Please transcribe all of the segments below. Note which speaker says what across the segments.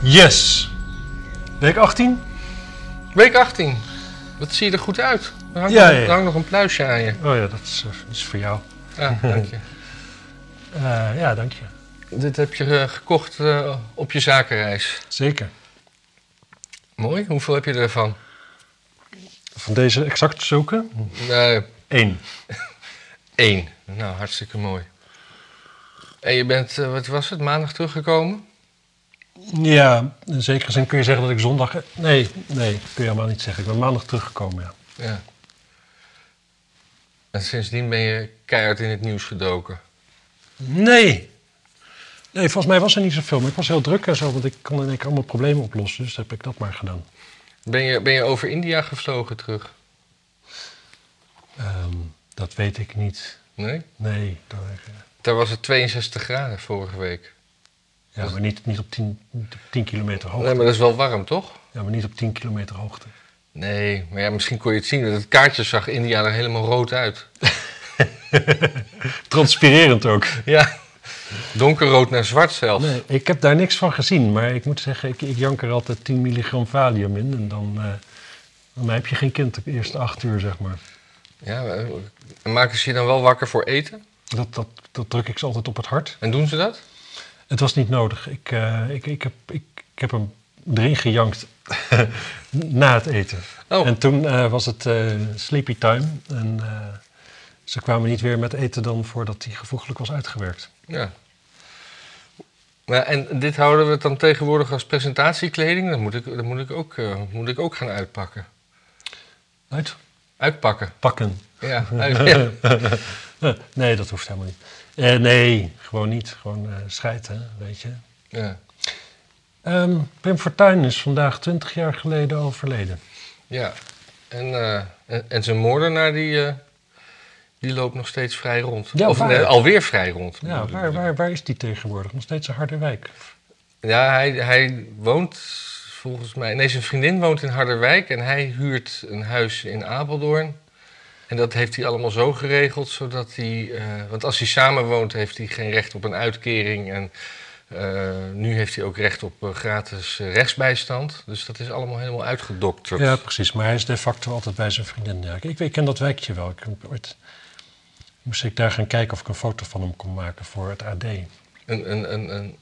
Speaker 1: Yes. Week 18?
Speaker 2: Week 18. Wat zie je er goed uit. Er hangt,
Speaker 1: Ja,
Speaker 2: nog,
Speaker 1: ja, ja.
Speaker 2: er hangt nog een pluisje aan je.
Speaker 1: Oh ja, dat is, eh, dat is voor jou.
Speaker 2: Ja, dank je.
Speaker 1: Eh, ja, dank je.
Speaker 2: Dit heb je eh, gekocht eh, op je zakenreis.
Speaker 1: Zeker.
Speaker 2: Mooi. Hoeveel heb je ervan?
Speaker 1: Van deze exact zulke? Eh,
Speaker 2: Nou,
Speaker 1: Eén.
Speaker 2: één. Nou, hartstikke mooi. En je bent, eh, wat was het, maandag teruggekomen?
Speaker 1: Ja, in zekere zin kun je zeggen dat ik zondag... Nee, nee, kun je helemaal niet zeggen. Ik ben maandag teruggekomen, ja.
Speaker 2: Ja. En sindsdien ben je keihard in het nieuws gedoken.
Speaker 1: Nee. Nee, volgens mij was er niet zoveel. Maar ik was heel druk en zo, want ik kon in één keer allemaal problemen oplossen. Dus heb ik dat maar gedaan.
Speaker 2: Ben je, ben je over India gevlogen terug?
Speaker 1: Ehm, dat weet ik niet.
Speaker 2: Nee?
Speaker 1: Nee. dat- eh,
Speaker 2: Daar was het 62 graden vorige week.
Speaker 1: ja, maar niet, niet, op 10, niet op 10 kilometer hoogte.
Speaker 2: Nee, maar dat is wel warm, toch?
Speaker 1: Ja, maar niet op 10 kilometer hoogte.
Speaker 2: Nee, maar ja, misschien kon je het zien. want Het kaartje zag India er helemaal rood uit.
Speaker 1: Transpirerend ook.
Speaker 2: Ja. Donkerrood naar zwart zelfs.
Speaker 1: Nee, ik heb daar niks van gezien, maar ik moet zeggen, ik, ik jank er altijd 10 milligram valium in. En dan, eh, dan heb je geen kind de eerste acht uur, zeg maar.
Speaker 2: Ja, eh, maken ze je dan wel wakker voor eten?
Speaker 1: Dat, dat, dat druk ik ze altijd op het hart.
Speaker 2: En doen ze dat?
Speaker 1: Het was niet nodig. Ik, eh, ik, ik, heb, ik, ik heb hem erin gejankt na het eten.
Speaker 2: Oh.
Speaker 1: En toen eh, was het eh, sleepy time. En eh, ze kwamen niet weer met eten dan voordat hij gevoeglijk was uitgewerkt.
Speaker 2: Ja. Maar en dit houden we dan tegenwoordig als presentatiekleding? Dat moet ik, dat moet ik, ook, eh, moet ik ook gaan uitpakken. Uitpakken.
Speaker 1: Uitpakken.
Speaker 2: Ja, uit- ja.
Speaker 1: Eh, nee, dat hoeft helemaal niet. Eh, nee, gewoon niet. Gewoon eh scheiden, weet je.
Speaker 2: ja.
Speaker 1: Ehm Pim Fortuyn is vandaag 20 jaar geleden overleden.
Speaker 2: ja. En, eh, en, en zijn moordenaar die, eh, die loopt nog steeds vrij rond.
Speaker 1: Ja,
Speaker 2: of
Speaker 1: waar?
Speaker 2: nee, alweer vrij rond.
Speaker 1: Ja,
Speaker 2: bedoel
Speaker 1: waar,
Speaker 2: ik.
Speaker 1: waar, waar is die tegenwoordig? Nog steeds een harde wijk.
Speaker 2: Ja, hij, hij woont volgens mij. Nee, zijn vriendin woont in Harderwijk en hij huurt een huis in Apeldoorn. En dat heeft hij allemaal zo geregeld, zodat hij. eh, want als hij samen woont, heeft hij geen recht op een uitkering. En eh, nu heeft hij ook recht op eh, gratis eh, rechtsbijstand. Dus dat is allemaal helemaal uitgedokterd.
Speaker 1: Ja, precies. Maar hij is de facto altijd bij zijn vriendin. Ja, ik, ik, ik ken dat wijkje wel. Ik heb ooit moest ik daar gaan kijken of ik een foto van hem kon maken voor het AD.
Speaker 2: Een, een, een, een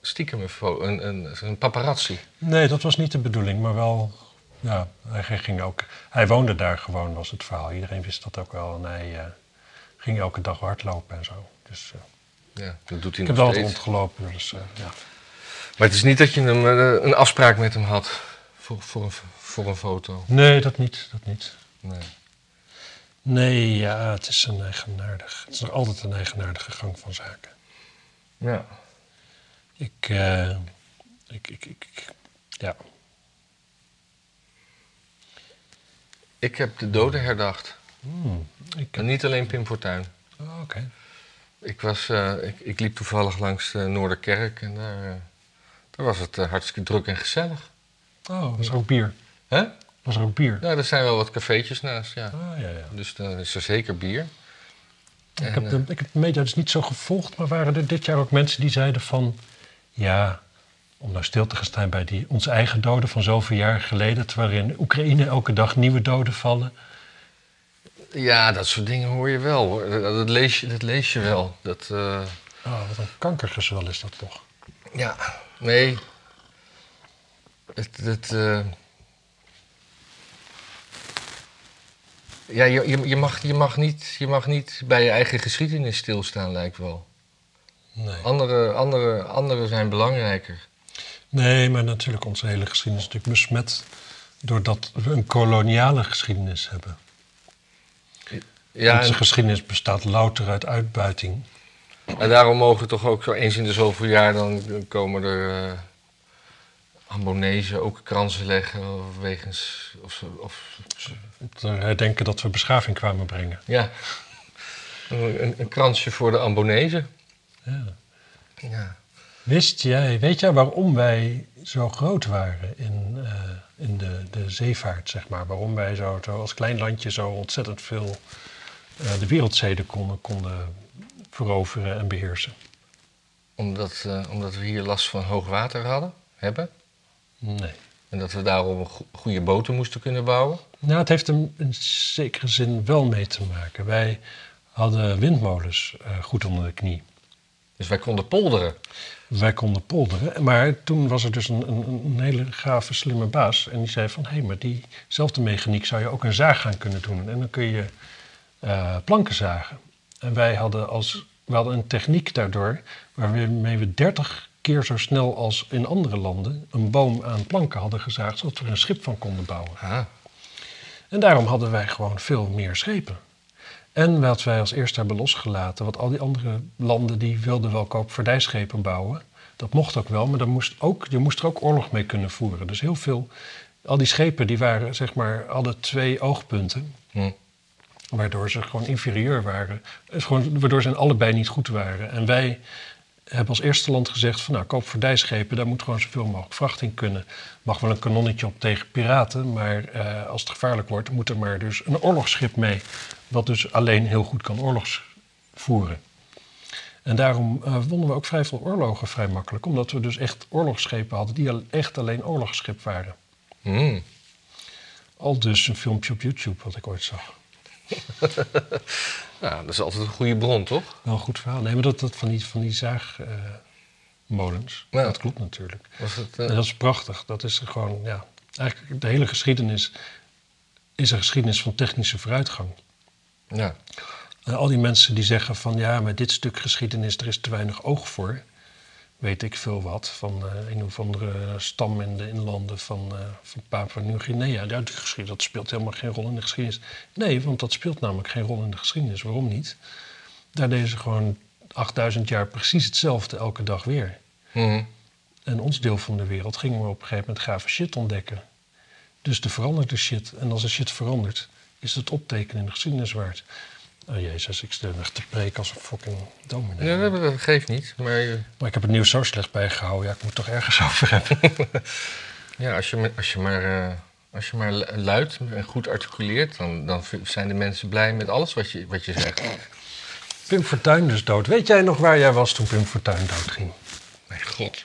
Speaker 2: stiekem een, fo- een, een, een paparazzi.
Speaker 1: Nee, dat was niet de bedoeling, maar wel... Ja, hij ging ook... Hij woonde daar gewoon, was het verhaal. Iedereen wist dat ook wel. En hij eh, ging elke dag hardlopen en zo. Dus eh,
Speaker 2: Ja, dat doet
Speaker 1: ik
Speaker 2: hij
Speaker 1: heb
Speaker 2: nog
Speaker 1: wel
Speaker 2: steeds.
Speaker 1: rondgelopen. Dus, eh, ja.
Speaker 2: Maar het is niet dat je hem, eh, een afspraak met hem had voor, voor, een, voor een foto.
Speaker 1: Nee, dat niet, dat niet.
Speaker 2: Nee.
Speaker 1: Nee, ja, het is een eigenaardig... Het is nog altijd een eigenaardige gang van zaken.
Speaker 2: Ja.
Speaker 1: Ik, eh, ik, ik, ik, ik- ja.
Speaker 2: Ik heb de doden herdacht.
Speaker 1: Hmm, ik,
Speaker 2: En niet alleen Pim Fortuyn.
Speaker 1: oh, Oké.
Speaker 2: Ik, was, eh, ik, ik liep toevallig langs de Noorderkerk en daar, eh, daar was het eh, hartstikke druk en gezellig.
Speaker 1: Oh, was er ook bier?
Speaker 2: Hè?
Speaker 1: Was er ook bier?
Speaker 2: Ja, er zijn wel wat cafeetjes naast, ja.
Speaker 1: Ah, ja, ja.
Speaker 2: Dus dan is er zeker bier.
Speaker 1: Ik
Speaker 2: En,
Speaker 1: heb, de, ik heb de media dus niet zo gevolgd, maar waren er dit jaar ook mensen die zeiden van... Ja, om nou stil te gaan staan bij die, onze eigen doden van zoveel jaar geleden... terwijl er in Oekraïne elke dag nieuwe doden vallen.
Speaker 2: Ja, dat soort dingen hoor je wel. Hoor. Dat, dat lees, je, dat lees je wel. Dat, eh,
Speaker 1: Oh, wat een kankergezwel is dat toch.
Speaker 2: Ja, nee. Het, het, eh, Ja, je, je, je mag, je, mag niet, je mag niet bij je eigen geschiedenis stilstaan, lijkt wel.
Speaker 1: Nee.
Speaker 2: Anderen andere, andere zijn belangrijker.
Speaker 1: nee, maar natuurlijk onze hele geschiedenis is natuurlijk besmet... doordat we een koloniale geschiedenis hebben.
Speaker 2: Ja,
Speaker 1: onze
Speaker 2: en,
Speaker 1: geschiedenis bestaat louter uit uitbuiting.
Speaker 2: en daarom mogen toch ook zo eens in de zoveel jaar... dan komen er eh Ambonezen ook kransen leggen wegens... Of, ze- of,
Speaker 1: Te herdenken dat we beschaving kwamen brengen.
Speaker 2: ja, een, een kransje voor de Ambonezen.
Speaker 1: Ja.
Speaker 2: Ja.
Speaker 1: Wist jij, weet jij waarom wij zo groot waren in, eh, in de, de zeevaart, zeg maar? Waarom wij zo, zo als klein landje zo ontzettend veel eh, de wereldzeden konden, konden veroveren en beheersen?
Speaker 2: Omdat, eh, omdat we hier last van hoog water hadden. hebben.
Speaker 1: Nee.
Speaker 2: En dat we daarom een go- goede boten moesten kunnen bouwen.
Speaker 1: Nou, het heeft er in zekere zin wel mee te maken. Wij hadden windmolens eh, goed onder de knie.
Speaker 2: Dus wij konden polderen.
Speaker 1: Wij konden polderen, maar toen was er dus een, een, een hele gave, slimme baas. En die zei van, hé, hey, maar diezelfde mechaniek zou je ook een zaag gaan kunnen doen. En dan kun je eh, planken zagen. En wij hadden, als, we hadden een techniek daardoor waarmee we 30 keer zo snel als in andere landen een boom aan planken hadden gezaagd, zodat we er een schip van konden bouwen.
Speaker 2: Ah,
Speaker 1: En daarom hadden wij gewoon veel meer schepen. En wat wij als eerste hebben losgelaten, want al die andere landen die wilden wel koopvaardijschepen bouwen. Dat mocht ook wel, maar dan moest ook, je moest er ook oorlog mee kunnen voeren. Dus heel veel, al die schepen die waren, zeg maar, hadden twee oogpunten.
Speaker 2: hm.
Speaker 1: Waardoor ze gewoon inferieur waren. Het is gewoon, waardoor ze in allebei niet goed waren. En wij hebben als eerste land gezegd: van nou, koop verdijschepen, daar moet gewoon zoveel mogelijk vracht in kunnen. Mag wel een kanonnetje op tegen piraten, maar eh, als het gevaarlijk wordt, moet er maar dus een oorlogsschip mee. Wat dus alleen heel goed kan oorlogs voeren. En daarom eh, wonnen we ook vrij veel oorlogen vrij makkelijk, omdat we dus echt oorlogsschepen hadden die al- echt alleen oorlogsschip waren.
Speaker 2: Hm.
Speaker 1: Al dus een filmpje op YouTube, wat ik ooit zag.
Speaker 2: Nou, dat is altijd een goede bron, toch?
Speaker 1: Wel een goed verhaal. Nee, maar dat, dat van die, van die zaagmolens,
Speaker 2: Ja.
Speaker 1: dat klopt natuurlijk.
Speaker 2: Was het,
Speaker 1: En
Speaker 2: eh,
Speaker 1: dat is prachtig. Dat is gewoon, ja, eigenlijk de hele geschiedenis is een geschiedenis van technische vooruitgang.
Speaker 2: ja.
Speaker 1: En al die mensen die zeggen van ja, maar dit stuk geschiedenis, er is te weinig oog voor. Weet ik veel wat van eh, een of andere stam in de inlanden van, eh van Papua-Nieuw-Guinea. Ja, die geschiedenis, dat speelt helemaal geen rol in de geschiedenis. Nee, want dat speelt namelijk geen rol in de geschiedenis. Waarom niet? Daar deden ze gewoon 8000 jaar precies hetzelfde elke dag weer.
Speaker 2: Hm.
Speaker 1: En ons deel van de wereld gingen we op een gegeven moment gave shit ontdekken. Dus er verandert de shit. En als de shit verandert, is het optekenen in de geschiedenis waard. Oh jezus, ik stel echt te preken als een fucking dominee.
Speaker 2: Ja, dat- dat geeft niet. Maar eh,
Speaker 1: Maar ik heb het nieuws zo slecht bijgehouden. Ja, ik moet het toch ergens over hebben.
Speaker 2: ja, als, je, maar- als, je maar, eh, als je maar lu- luid en goed articuleert, dan, dan v- zijn de mensen blij met alles wat je, wat je zegt.
Speaker 1: Pim Fortuyn dus dood. Weet jij nog waar jij was toen Pim Fortuyn doodging?
Speaker 2: Mijn god.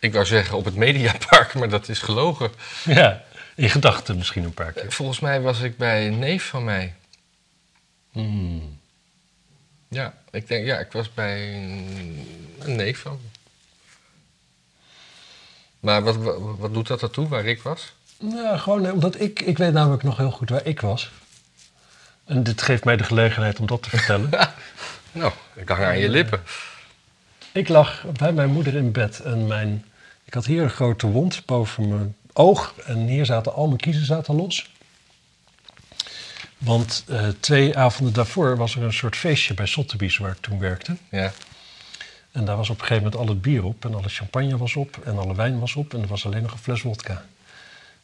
Speaker 2: Ik wou zeggen op het Mediapark, maar dat is gelogen.
Speaker 1: Ja, in gedachten misschien een paar keer.
Speaker 2: Volgens mij was ik bij een neef van mij.
Speaker 1: Hmm.
Speaker 2: Ja, ik denk, ja, ik was bij een, een neef van. me. Maar wat, wat, wat doet dat ertoe waar ik was?
Speaker 1: Nou, gewoon eh, omdat ik... Ik weet namelijk nog heel goed waar ik was. En dit geeft mij de gelegenheid om dat te vertellen.
Speaker 2: Nou, ik hang aan je lippen.
Speaker 1: Ik lag bij mijn moeder in bed en mijn, ik had hier een grote wond boven mijn oog en hier zaten al mijn kiezen zaten los. Want eh, twee avonden daarvoor was er een soort feestje bij Sotheby's waar ik toen werkte.
Speaker 2: Ja.
Speaker 1: En daar was op een gegeven moment al het bier op en alle champagne was op en alle wijn was op en er was alleen nog een fles wodka.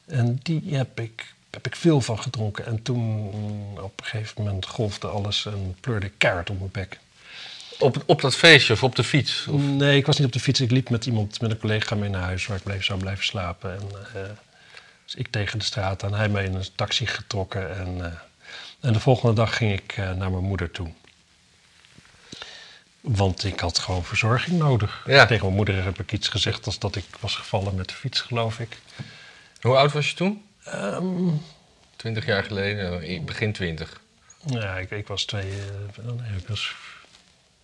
Speaker 1: En die heb ik, heb ik veel van gedronken en toen mm, op een gegeven moment golfde alles en pleurde ik keihard op mijn bek.
Speaker 2: Op, op dat feestje of op de fiets? Of,
Speaker 1: Nee, ik was niet op de fiets. Ik liep met iemand, met een collega mee naar huis waar ik bleef, zou blijven slapen. En, eh, dus ik tegen de straat aan, hij mij in een taxi getrokken. En, eh, en de volgende dag ging ik eh, naar mijn moeder toe. Want ik had gewoon verzorging nodig.
Speaker 2: Ja.
Speaker 1: Tegen mijn moeder heb ik iets gezegd als dat ik was gevallen met de fiets, geloof ik.
Speaker 2: hoe oud was je toen?
Speaker 1: Ehm,
Speaker 2: Twintig jaar geleden, eh, begin twintig.
Speaker 1: ja, ik, ik was twee... eh, nee, ik was,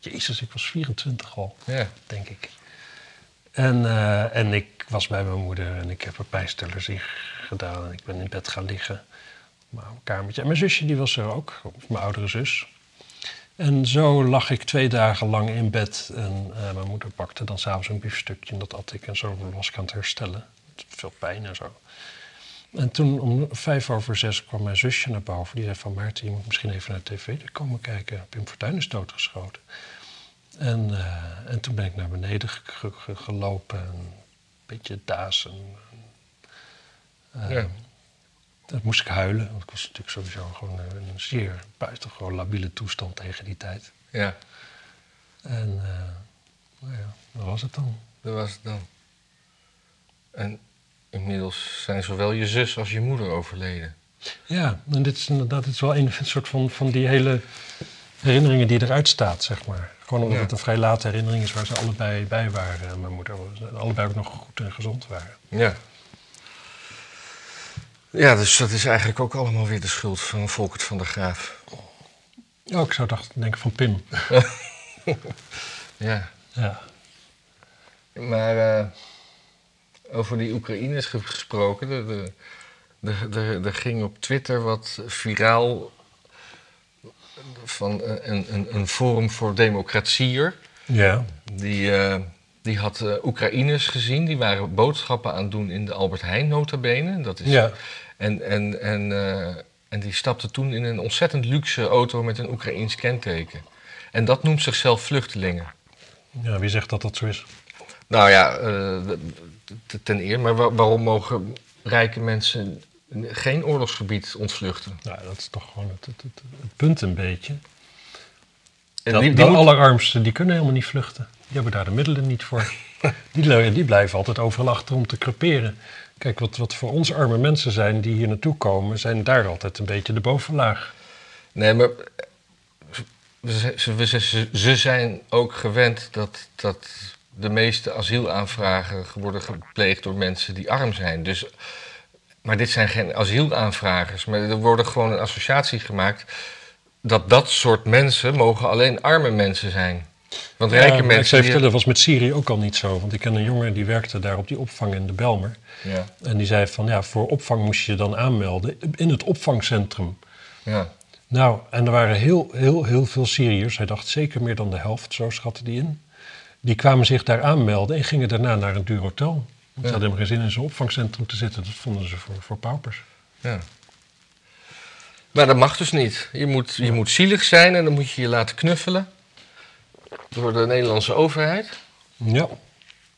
Speaker 1: Jezus, ik was 24 al.
Speaker 2: Ja.
Speaker 1: denk ik. En, eh, en ik was bij mijn moeder en ik heb er pijnstillers in gedaan. En ik ben in bed gaan liggen op mijn oude kamertje. En mijn zusje die was er ook, of mijn oudere zus. En zo lag ik twee dagen lang in bed. En eh, mijn moeder pakte dan s'avonds een biefstukje en dat at ik. En zo was ik aan het herstellen. Met Veel pijn en zo. En toen om vijf over zes kwam mijn zusje naar boven. Die zei van Maarten, je moet misschien even naar de tv komen kijken. Pim Fortuyn is doodgeschoten. En, eh, en toen ben ik naar beneden ge- ge- ge- gelopen. en Een beetje daas. En, eh,
Speaker 2: Ja.
Speaker 1: dan moest ik huilen. Want ik was natuurlijk sowieso gewoon eh, in een zeer buitengewoon labiele toestand tegen die tijd.
Speaker 2: ja,
Speaker 1: En eh, nou ja, dat was het dan.
Speaker 2: dat was het dan. En inmiddels zijn zowel je zus als je moeder overleden.
Speaker 1: Ja, en dit is inderdaad dit is wel een soort van, van die hele herinneringen die eruit staat, zeg maar. Gewoon omdat
Speaker 2: Ja.
Speaker 1: het een vrij late herinnering is waar ze allebei bij waren. En mijn moeder was- allebei ook nog goed en gezond waren.
Speaker 2: Ja. Ja, dus dat is eigenlijk ook allemaal weer de schuld van Volkert van der Graaf.
Speaker 1: Oh, ik zou dacht, denken van Pim.
Speaker 2: Ja.
Speaker 1: Ja.
Speaker 2: Maar eh, over die Oekraïners ge- gesproken, er- er- er- er- er ging op Twitter wat viraal van eh, een, een, een Forum voor Democratieër.
Speaker 1: Ja.
Speaker 2: Die, eh, die had eh, Oekraïners gezien, die waren boodschappen aan het doen in de Albert Heijn notabene. Dat is,
Speaker 1: Ja.
Speaker 2: En, en, en, eh, en die stapte toen in een ontzettend luxe auto met een Oekraïns kenteken. En dat noemt zichzelf vluchtelingen.
Speaker 1: ja, wie zegt dat dat zo is?
Speaker 2: Nou ja, eh, t- ten eer, maar wa- waarom mogen rijke mensen geen oorlogsgebied ontvluchten?
Speaker 1: Nou, dat is toch gewoon het, het, het, het punt een beetje.
Speaker 2: En
Speaker 1: dat,
Speaker 2: die, die
Speaker 1: de
Speaker 2: moet-
Speaker 1: allerarmsten, die kunnen helemaal niet vluchten. Die hebben daar de middelen niet voor. die, le- die blijven altijd overal achter om te creperen. Kijk, wat, wat voor ons arme mensen zijn die hier naartoe komen... zijn daar altijd een beetje de bovenlaag.
Speaker 2: Nee, maar eh, ze, ze- ze- ze- ze zijn ook gewend dat, dat de meeste asielaanvragen worden gepleegd door mensen die arm zijn. Dus, maar dit zijn geen asielaanvragers, maar er wordt gewoon een associatie gemaakt dat dat soort mensen mogen alleen arme mensen zijn. Want rijke
Speaker 1: Ja, maar Eh, Ik
Speaker 2: mensen.
Speaker 1: zou je
Speaker 2: die-
Speaker 1: vertellen, dat was met Syrië ook al niet zo. Want ik ken een jongen die werkte daar op die opvang in de Belmer.
Speaker 2: Ja,
Speaker 1: En die zei van, ja, voor opvang moest je je dan aanmelden in het opvangcentrum.
Speaker 2: ja.
Speaker 1: Nou, en er waren heel, heel, heel veel Syriërs. Hij dacht zeker meer dan de helft, zo schatte die in. Die kwamen zich daar aanmelden en gingen daarna naar een duur hotel. Want ze
Speaker 2: Ja.
Speaker 1: hadden helemaal geen zin in zo'n opvangcentrum te zitten. Dat vonden ze voor, voor paupers.
Speaker 2: Ja. Maar dat mag dus niet. Je moet, je moet zielig zijn en dan moet je je laten knuffelen door de Nederlandse overheid.
Speaker 1: Ja,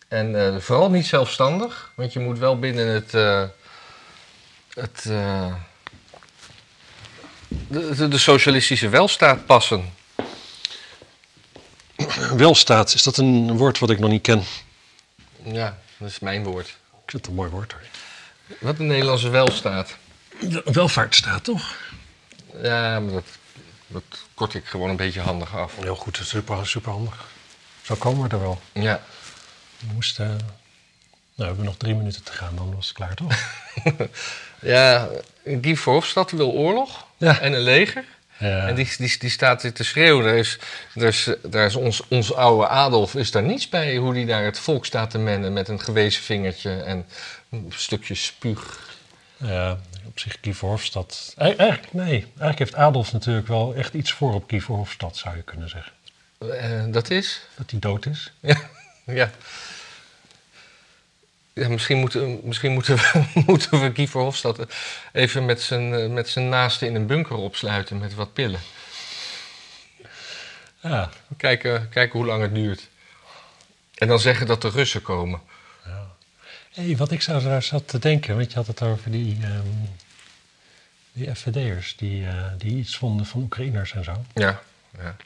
Speaker 2: En eh, vooral niet zelfstandig, want je moet wel binnen het. eh, het eh, de, de, de socialistische welstaat passen.
Speaker 1: welstaat, is dat een woord wat ik nog niet ken?
Speaker 2: Ja, dat is mijn woord.
Speaker 1: Ik vind het een mooi woord hoor.
Speaker 2: Wat de Nederlandse welstaat.
Speaker 1: welvaartsstaat toch?
Speaker 2: Ja, maar dat, dat kort ik gewoon een beetje handig af.
Speaker 1: Heel goed, dat is super, super handig. Zo komen we er wel.
Speaker 2: Ja.
Speaker 1: We moesten... Nou, we hebben nog drie minuten te gaan, dan was het klaar toch?
Speaker 2: Ja, Guy Verhofstadt wil oorlog
Speaker 1: Ja.
Speaker 2: en een leger.
Speaker 1: Ja.
Speaker 2: En die, die, die staat hier te schreeuwen. Daar is, daar is, daar is ons, ons oude Adolf is daar niets bij hoe die daar het volk staat te mennen met een gewezen vingertje en een stukje spuug.
Speaker 1: Ja, Eh, op zich Guy Hofstad. Eigenlijk, nee. Eigenlijk heeft Adolf natuurlijk wel echt iets voor op Guy Verhofstadt, zou je kunnen zeggen.
Speaker 2: Eh, dat is.
Speaker 1: Dat hij dood is.
Speaker 2: Ja. ja misschien moeten, misschien moeten we, moeten we Guy Verhofstadt even met zijn, eh, met zijn naasten in een bunker opsluiten met wat pillen.
Speaker 1: Ja,
Speaker 2: Kijken, kijken hoe lang het duurt. En dan zeggen dat de Russen komen.
Speaker 1: Hey, wat ik zou daar zat te denken, want je had het over die, ehm, die FVD'ers die, eh, die iets vonden van Oekraïners en zo.
Speaker 2: Ja. ja.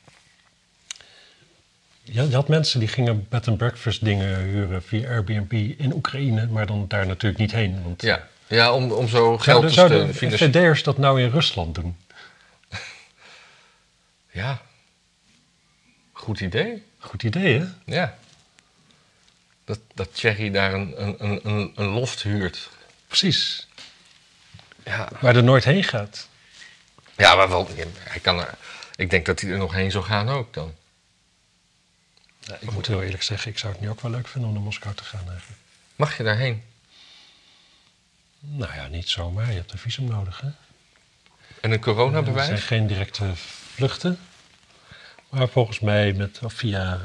Speaker 1: Je, had- je had mensen die gingen bed and breakfast dingen huren via Airbnb in Oekraïne, maar dan daar natuurlijk niet heen. Want
Speaker 2: Ja, ja om, om zo
Speaker 1: zouden,
Speaker 2: geld te
Speaker 1: Nou, zouden
Speaker 2: steunen. financi-
Speaker 1: FVD'ers dat nou in Rusland doen?
Speaker 2: Ja. Goed idee.
Speaker 1: Goed idee, hè?
Speaker 2: Ja. Dat, dat Thierry daar een, een, een- een, een loft huurt.
Speaker 1: Precies.
Speaker 2: Ja,
Speaker 1: Waar er nooit heen gaat.
Speaker 2: ja maar wel, ja, hij kan er, ik denk dat hij er nog heen zou gaan ook dan.
Speaker 1: Ja, ik moet heel eerlijk zeggen, ik zou het nu ook wel leuk vinden om naar Moskou te gaan. Eigenlijk.
Speaker 2: Mag je daarheen?
Speaker 1: Nou ja, niet zomaar. Je hebt een visum nodig, hè?
Speaker 2: En een
Speaker 1: Er zijn
Speaker 2: coronabewijs?
Speaker 1: geen directe vluchten. Maar volgens mij met, of via,
Speaker 2: Nou,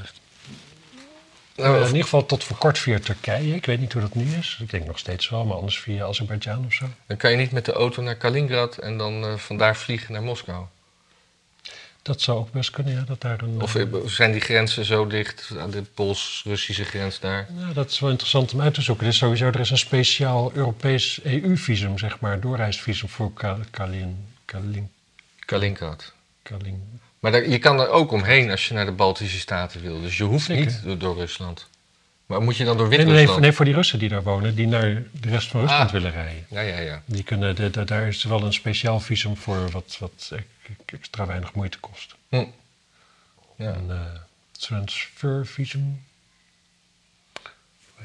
Speaker 1: in
Speaker 2: Oh, of-
Speaker 1: ieder geval tot voor kort via Turkije. Ik weet niet hoe dat nu is. Ik denk nog steeds wel, maar anders via Azerbeidzjan of zo.
Speaker 2: dan kan je niet met de auto naar Kaliningrad en dan eh, vandaar vliegen naar Moskou.
Speaker 1: Dat zou ook best kunnen, ja, dat daar een...
Speaker 2: Of eh, zijn die grenzen zo dicht, aan de Pools-Russische grens daar?
Speaker 1: nou, dat is wel interessant om uit te zoeken. Er is sowieso er is een speciaal Europees EU-visum, zeg maar, doorreisvisum voor Ka- Kalin, Kalin,
Speaker 2: Kaliningrad.
Speaker 1: Kalin.
Speaker 2: Maar daar- je kan er ook omheen als je naar de Baltische Staten wil. Dus je hoeft
Speaker 1: Zeker.
Speaker 2: niet door, door Rusland. Maar moet je dan door
Speaker 1: Nee, nee,
Speaker 2: Wit-Rusland?
Speaker 1: nee, nee, voor die Russen die daar wonen, die naar de rest van Rusland
Speaker 2: Ah.
Speaker 1: willen rijden.
Speaker 2: Ja, ja, ja.
Speaker 1: Die kunnen, de- de- daar is wel een speciaal visum voor wat, wat e- extra weinig moeite kost.
Speaker 2: Hm. ja.
Speaker 1: En, eh, transfervisum. Hoe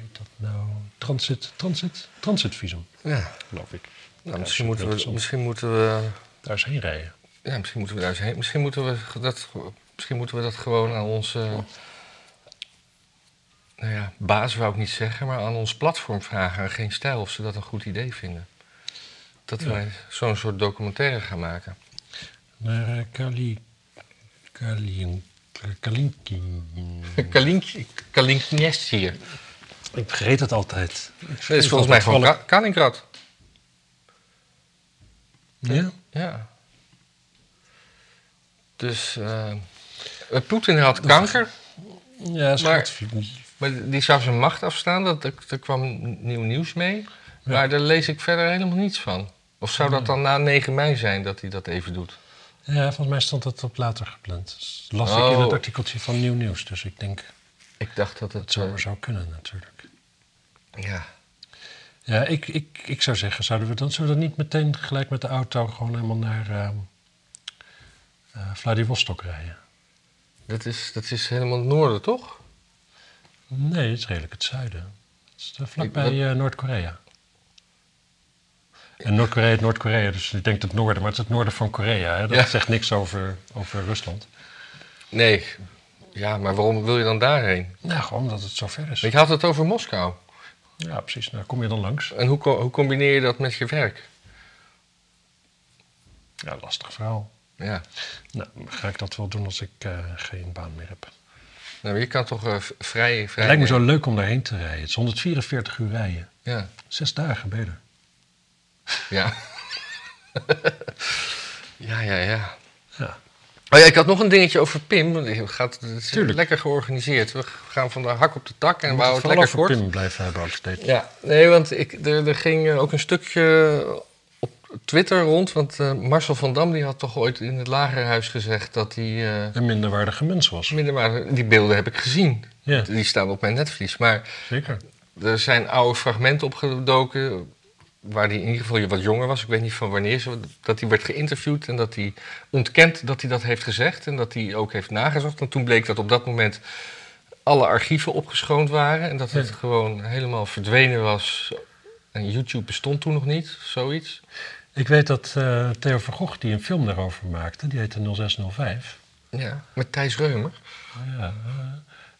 Speaker 1: heet dat nou? Transit, transit, transitvisum,
Speaker 2: Ja.
Speaker 1: geloof ik.
Speaker 2: Nou,
Speaker 1: Ja, dat
Speaker 2: misschien,
Speaker 1: is
Speaker 2: moeten we,
Speaker 1: interessant.
Speaker 2: misschien moeten we
Speaker 1: Daar is heen rijden.
Speaker 2: Ja, misschien moeten we daar eens heen. Misschien moeten we dat, misschien moeten we dat gewoon aan onze. Nou ja, baas wou ik niet zeggen, maar aan ons platform vragen, aan geen stijl, of ze dat een goed idee vinden. Dat
Speaker 1: Ja.
Speaker 2: wij zo'n soort documentaire gaan maken.
Speaker 1: Naar eh, Kali... Kali... Kalinkin.
Speaker 2: Kalinkje- Kalinknest hier.
Speaker 1: Ik vergeet het altijd.
Speaker 2: Dat is volgens mij gewoon Ka- Kalinkrat.
Speaker 1: Ja?
Speaker 2: Ja. Dus. eh, Poetin had kanker.
Speaker 1: Ja,
Speaker 2: Maar-
Speaker 1: schat.
Speaker 2: Maar die zou zijn macht afstaan, dat, er, er kwam nieuw nieuws mee. Maar daar lees ik verder helemaal niets van. Of zou dat dan na 9 mei zijn dat hij dat even doet?
Speaker 1: Ja, volgens mij stond dat op later gepland. Dat las ik in
Speaker 2: Oh.
Speaker 1: het artikeltje van Nieuw Nieuws. Dus ik denk
Speaker 2: Ik dacht dat het...
Speaker 1: dat zou
Speaker 2: eh,
Speaker 1: maar zou kunnen natuurlijk.
Speaker 2: ja.
Speaker 1: Ja, ik, ik, ik zou zeggen, zouden we, dan, zullen we dan niet meteen gelijk met de auto gewoon helemaal naar ehm, eh, Vladivostok rijden?
Speaker 2: Dat is, dat is helemaal het noorden, toch?
Speaker 1: Nee, het is redelijk het zuiden. Het is eh, vlakbij
Speaker 2: Ik-
Speaker 1: eh, Noord-Korea. En Noord-Korea is Noord-Korea, dus je denkt het noorden, maar het is het noorden van Korea. Hè? Dat
Speaker 2: Ja.
Speaker 1: zegt niks over, over Rusland.
Speaker 2: Nee. Ja, maar waarom wil je dan daarheen?
Speaker 1: Nou, gewoon omdat het zo ver is.
Speaker 2: Ik had het over Moskou.
Speaker 1: Ja, precies. Nou, kom je dan langs?
Speaker 2: En hoe, co- hoe combineer je dat met je werk?
Speaker 1: Ja, lastig verhaal.
Speaker 2: Ja.
Speaker 1: Nou, ga ik dat wel doen als ik eh, geen baan meer heb.
Speaker 2: Nou, je kan toch eh, v- vrij... vrij
Speaker 1: Het lijkt me zo leuk om daarheen te rijden. Het is 144 uur rijden.
Speaker 2: Ja.
Speaker 1: Zes dagen beter.
Speaker 2: Ja. ja, ja, ja.
Speaker 1: Ja.
Speaker 2: Oh ja, ik had nog een dingetje over Pim. Het gaat het is
Speaker 1: Tuurlijk.
Speaker 2: lekker georganiseerd. We gaan van de hak op de tak en
Speaker 1: En
Speaker 2: we
Speaker 1: wou
Speaker 2: houden
Speaker 1: het
Speaker 2: het lekker kort.
Speaker 1: Pim blijven hebben ook steeds.
Speaker 2: Ja, nee, want ik, er, er ging eh, ook een stukje op Twitter rond. Want eh, Marcel van Dam die had toch ooit in het lagerhuis gezegd dat hij... eh,
Speaker 1: Een minderwaardige mens was.
Speaker 2: minder maar die beelden heb ik gezien.
Speaker 1: Ja,
Speaker 2: Die staan op mijn netvlies. Maar
Speaker 1: zeker.
Speaker 2: er zijn oude fragmenten opgedoken... waar hij in ieder geval wat jonger was. Ik weet niet van wanneer. ze- Dat hij werd geïnterviewd en dat hij ontkent dat hij dat heeft gezegd. En dat hij ook heeft nagezocht. En toen bleek dat op dat moment alle archieven opgeschoond waren. En dat het
Speaker 1: Ja.
Speaker 2: gewoon helemaal verdwenen was. En YouTube bestond toen nog niet, zoiets.
Speaker 1: Ik weet dat eh, Theo van Gogh die een film daarover maakte. Die heette 0605.
Speaker 2: Ja, met Thijs Reumer.
Speaker 1: Ja, eh,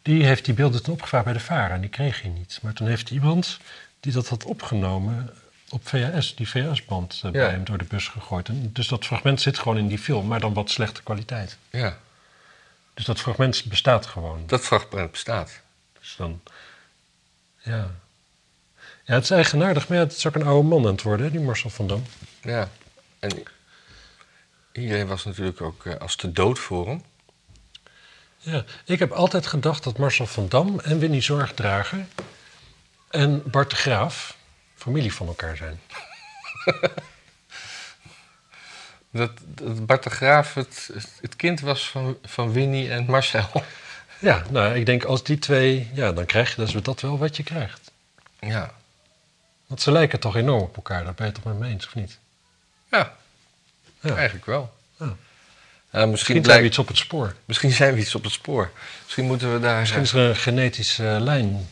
Speaker 1: die heeft die beelden toen opgevraagd bij de VARA en die kreeg hij niet. Maar toen heeft iemand die dat had opgenomen op VHS, die VHS-band eh,
Speaker 2: Ja.
Speaker 1: bij hem door de bus gegooid. En dus dat fragment zit gewoon in die film, maar dan wat slechte kwaliteit.
Speaker 2: Ja,
Speaker 1: Dus dat fragment bestaat gewoon.
Speaker 2: dat fragment bestaat.
Speaker 1: Dus dan, ja. Ja, het is eigenaardig, maar ja, het is ook een oude man aan het worden, hè, die Marcel van Dam.
Speaker 2: Ja, en iedereen was natuurlijk ook eh, als de dood voor hem.
Speaker 1: Ja, ik heb altijd gedacht dat Marcel van Dam en Winnie Zorgdrager en Bart de Graaf familie van elkaar zijn.
Speaker 2: Dat, dat Bart de Graaf het, het kind was van, van Winnie en Marcel.
Speaker 1: Ja, nou, ik denk als die twee, ja, dan krijg je dus dat wel wat je krijgt.
Speaker 2: Ja.
Speaker 1: Want ze lijken toch enorm op elkaar, daar ben je het toch mee eens, of niet?
Speaker 2: Ja,
Speaker 1: Ja.
Speaker 2: eigenlijk wel.
Speaker 1: Ja.
Speaker 2: Eh, misschien,
Speaker 1: Misschien
Speaker 2: blijkt-
Speaker 1: zijn we iets op het spoor.
Speaker 2: misschien zijn we iets op het spoor. Misschien moeten we daar...
Speaker 1: Misschien is er een genetische eh, lijn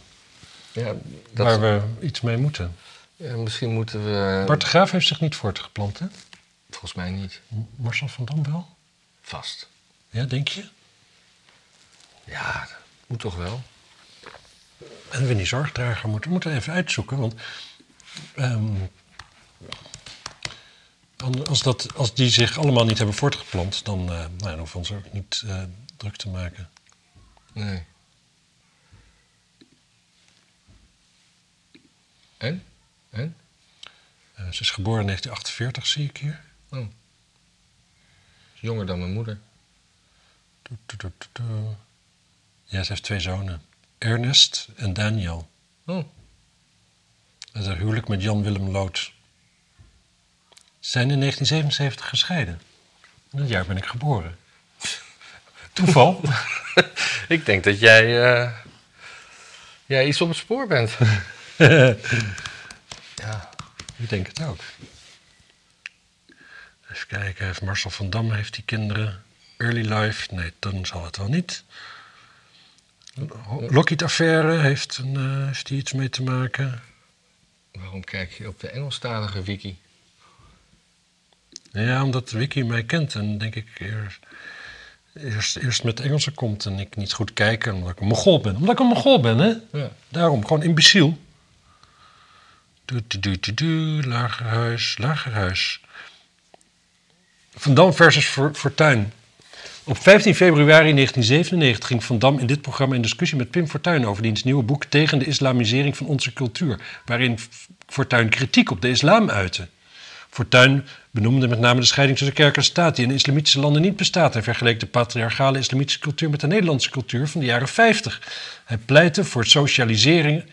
Speaker 2: ja, dat,
Speaker 1: waar we iets mee moeten.
Speaker 2: ja, misschien moeten we...
Speaker 1: Bart de Graaf heeft zich niet voortgeplant, hè?
Speaker 2: Volgens mij niet.
Speaker 1: Marcel van Dam wel?
Speaker 2: Vast.
Speaker 1: Ja, denk je?
Speaker 2: Ja, dat moet toch wel.
Speaker 1: En Winnie Zorgdrager moeten we moeten even uitzoeken. Want ehm, an- als, dat, als die zich allemaal niet hebben voortgeplant, dan, eh, nou, dan hoeven we ons ook niet eh, druk te maken.
Speaker 2: Nee. En? En?
Speaker 1: Eh, ze is geboren in 1948, zie ik hier.
Speaker 2: Oh. Is jonger dan mijn moeder.
Speaker 1: Toet, toet, toet, toet, toet. Ja, ze heeft twee zonen. Ernest en Daniel.
Speaker 2: Oh.
Speaker 1: En haar huwelijk met Jan-Willem Lood. Ze zijn in 1977 gescheiden. In dat jaar ben ik geboren. Toeval?
Speaker 2: Ik denk dat jij, eh, jij iets op het spoor bent. ja.
Speaker 1: ik denk het ook. Even kijken, heeft Marcel van Dam heeft die kinderen. Early life? Nee, dan zal het wel niet. Lockheed-affaire, heeft, een, eh, heeft die iets mee te maken?
Speaker 2: Waarom kijk je op de Engelstalige wiki?
Speaker 1: Ja, omdat Wiki mij kent en denk ik eer- eerst, eerst met Engelsen komt en ik niet goed kijk omdat ik een Mongool ben. Omdat ik een Mongool ben, hè?
Speaker 2: Ja.
Speaker 1: Daarom, gewoon imbeciel. Du, du, du, du, du, lagerhuis, lagerhuis. Van Dam versus Fo- Fortuyn. Op 15 februari 1997 ging Van Dam in dit programma in discussie met Pim Fortuyn over diens nieuwe boek Tegen de islamisering van onze cultuur, waarin F- Fortuyn kritiek op de islam uitte. Fortuyn benoemde met name de scheiding tussen kerk en staat die in islamitische landen niet bestaat. Hij vergeleek de patriarchale islamitische cultuur met de Nederlandse cultuur van de jaren 50. Hij pleitte voor socialisering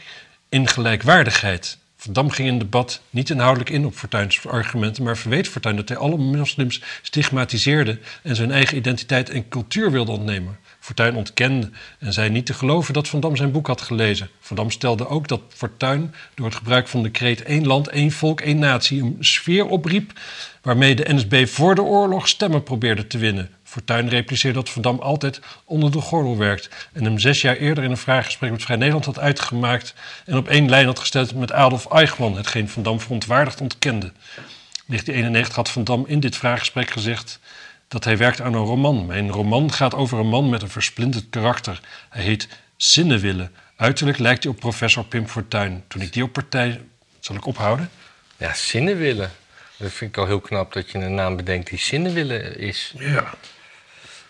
Speaker 1: in gelijkwaardigheid. Van Dam ging in debat niet inhoudelijk in op Fortuyn's argumenten, maar verweet Fortuyn dat hij alle moslims stigmatiseerde en zijn eigen identiteit en cultuur wilde ontnemen. Fortuyn ontkende en zei niet te geloven dat Van Dam zijn boek had gelezen. Van Dam stelde ook dat Fortuyn door het gebruik van de kreet één land, één volk, één natie een sfeer opriep waarmee de NSB voor de oorlog stemmen probeerde te winnen. Fortuyn repliceerde dat Van Dam altijd onder de gordel werkt en hem zes jaar eerder in een vraaggesprek met Vrij Nederland had uitgemaakt en op één lijn had gesteld met Adolf Eichmann, hetgeen Van Dam verontwaardigd ontkende. In 1991 had Van Dam in dit vraaggesprek gezegd dat hij werkt aan een roman. Mijn roman gaat over een man met een versplinterd karakter. Hij heet Zinnewille. Uiterlijk lijkt hij op professor Pim Fortuyn. Toen ik die op partij... Zal ik ophouden?
Speaker 2: Ja, Zinnenwillen. Dat vind ik al heel knap dat je een naam bedenkt die Zinnenwillen is.
Speaker 1: Ja.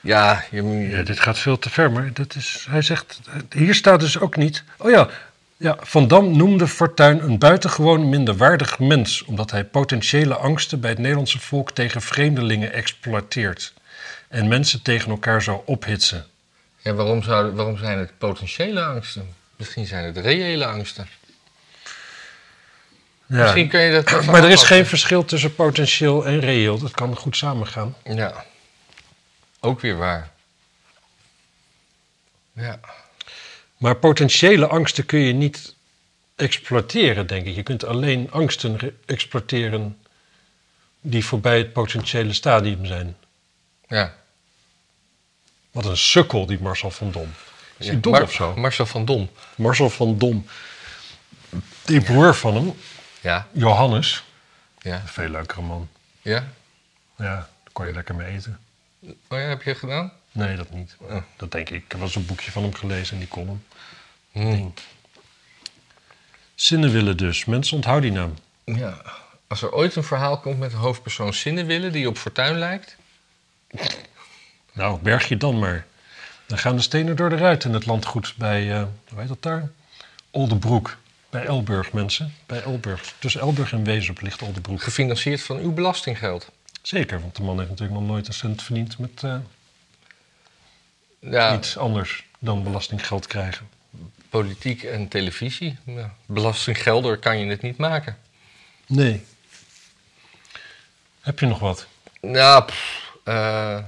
Speaker 2: Ja, je, moet-
Speaker 1: Ja, dit gaat veel te ver, maar dat is, hij zegt, hier staat dus ook niet... Oh ja, ja, Van Dam noemde Fortuyn een buitengewoon minderwaardig mens... omdat hij potentiële angsten bij het Nederlandse volk tegen vreemdelingen exploiteert... en mensen tegen elkaar zou ophitsen.
Speaker 2: ja waarom, zouden, waarom zijn het potentiële angsten? Misschien zijn het reële angsten.
Speaker 1: Ja.
Speaker 2: Misschien kun je dat. even
Speaker 1: Maar er is
Speaker 2: aanpassen.
Speaker 1: geen verschil tussen potentieel en reëel. Dat kan goed samengaan.
Speaker 2: Ja. Ook weer waar. Ja.
Speaker 1: Maar potentiële angsten kun je niet exploiteren, denk ik. Je kunt alleen angsten re- exploiteren die voorbij het potentiële stadium zijn.
Speaker 2: ja.
Speaker 1: Wat een sukkel, die Marcel van Dom. Is hij
Speaker 2: Ja,
Speaker 1: dom
Speaker 2: Mar-
Speaker 1: of zo?
Speaker 2: Marcel van Dom.
Speaker 1: Marcel van Dom. Die broer van hem,
Speaker 2: Ja.
Speaker 1: Johannes.
Speaker 2: Ja.
Speaker 1: Een veel leukere man.
Speaker 2: Ja.
Speaker 1: Ja, daar kon je lekker mee eten.
Speaker 2: Oh ja, heb je gedaan?
Speaker 1: Nee, dat niet. Eh,
Speaker 2: Oh.
Speaker 1: Dat denk ik. Ik heb wel eens een boekje van hem gelezen en die column.
Speaker 2: Hm.
Speaker 1: Zinnenwillen dus. Mensen onthouden die naam.
Speaker 2: Ja. Als er ooit een verhaal komt met een hoofdpersoon Zinnenwillen die op Fortuin lijkt.
Speaker 1: Nou, berg je dan maar. Dan gaan de stenen door de ruit in het landgoed bij, eh, hoe heet dat daar? Oldenbroek. Bij Elburg, mensen. Bij Elburg. Tussen Elburg en Wezup ligt Oldenbroek.
Speaker 2: Gefinancierd van uw belastinggeld.
Speaker 1: Zeker, want de man heeft natuurlijk nog nooit een cent verdiend met eh,
Speaker 2: Ja.
Speaker 1: iets anders dan belastinggeld krijgen.
Speaker 2: Politiek en televisie. Ja. Belastinggelder kan je het niet maken.
Speaker 1: Nee. Heb je nog wat?
Speaker 2: Nou, pff, eh,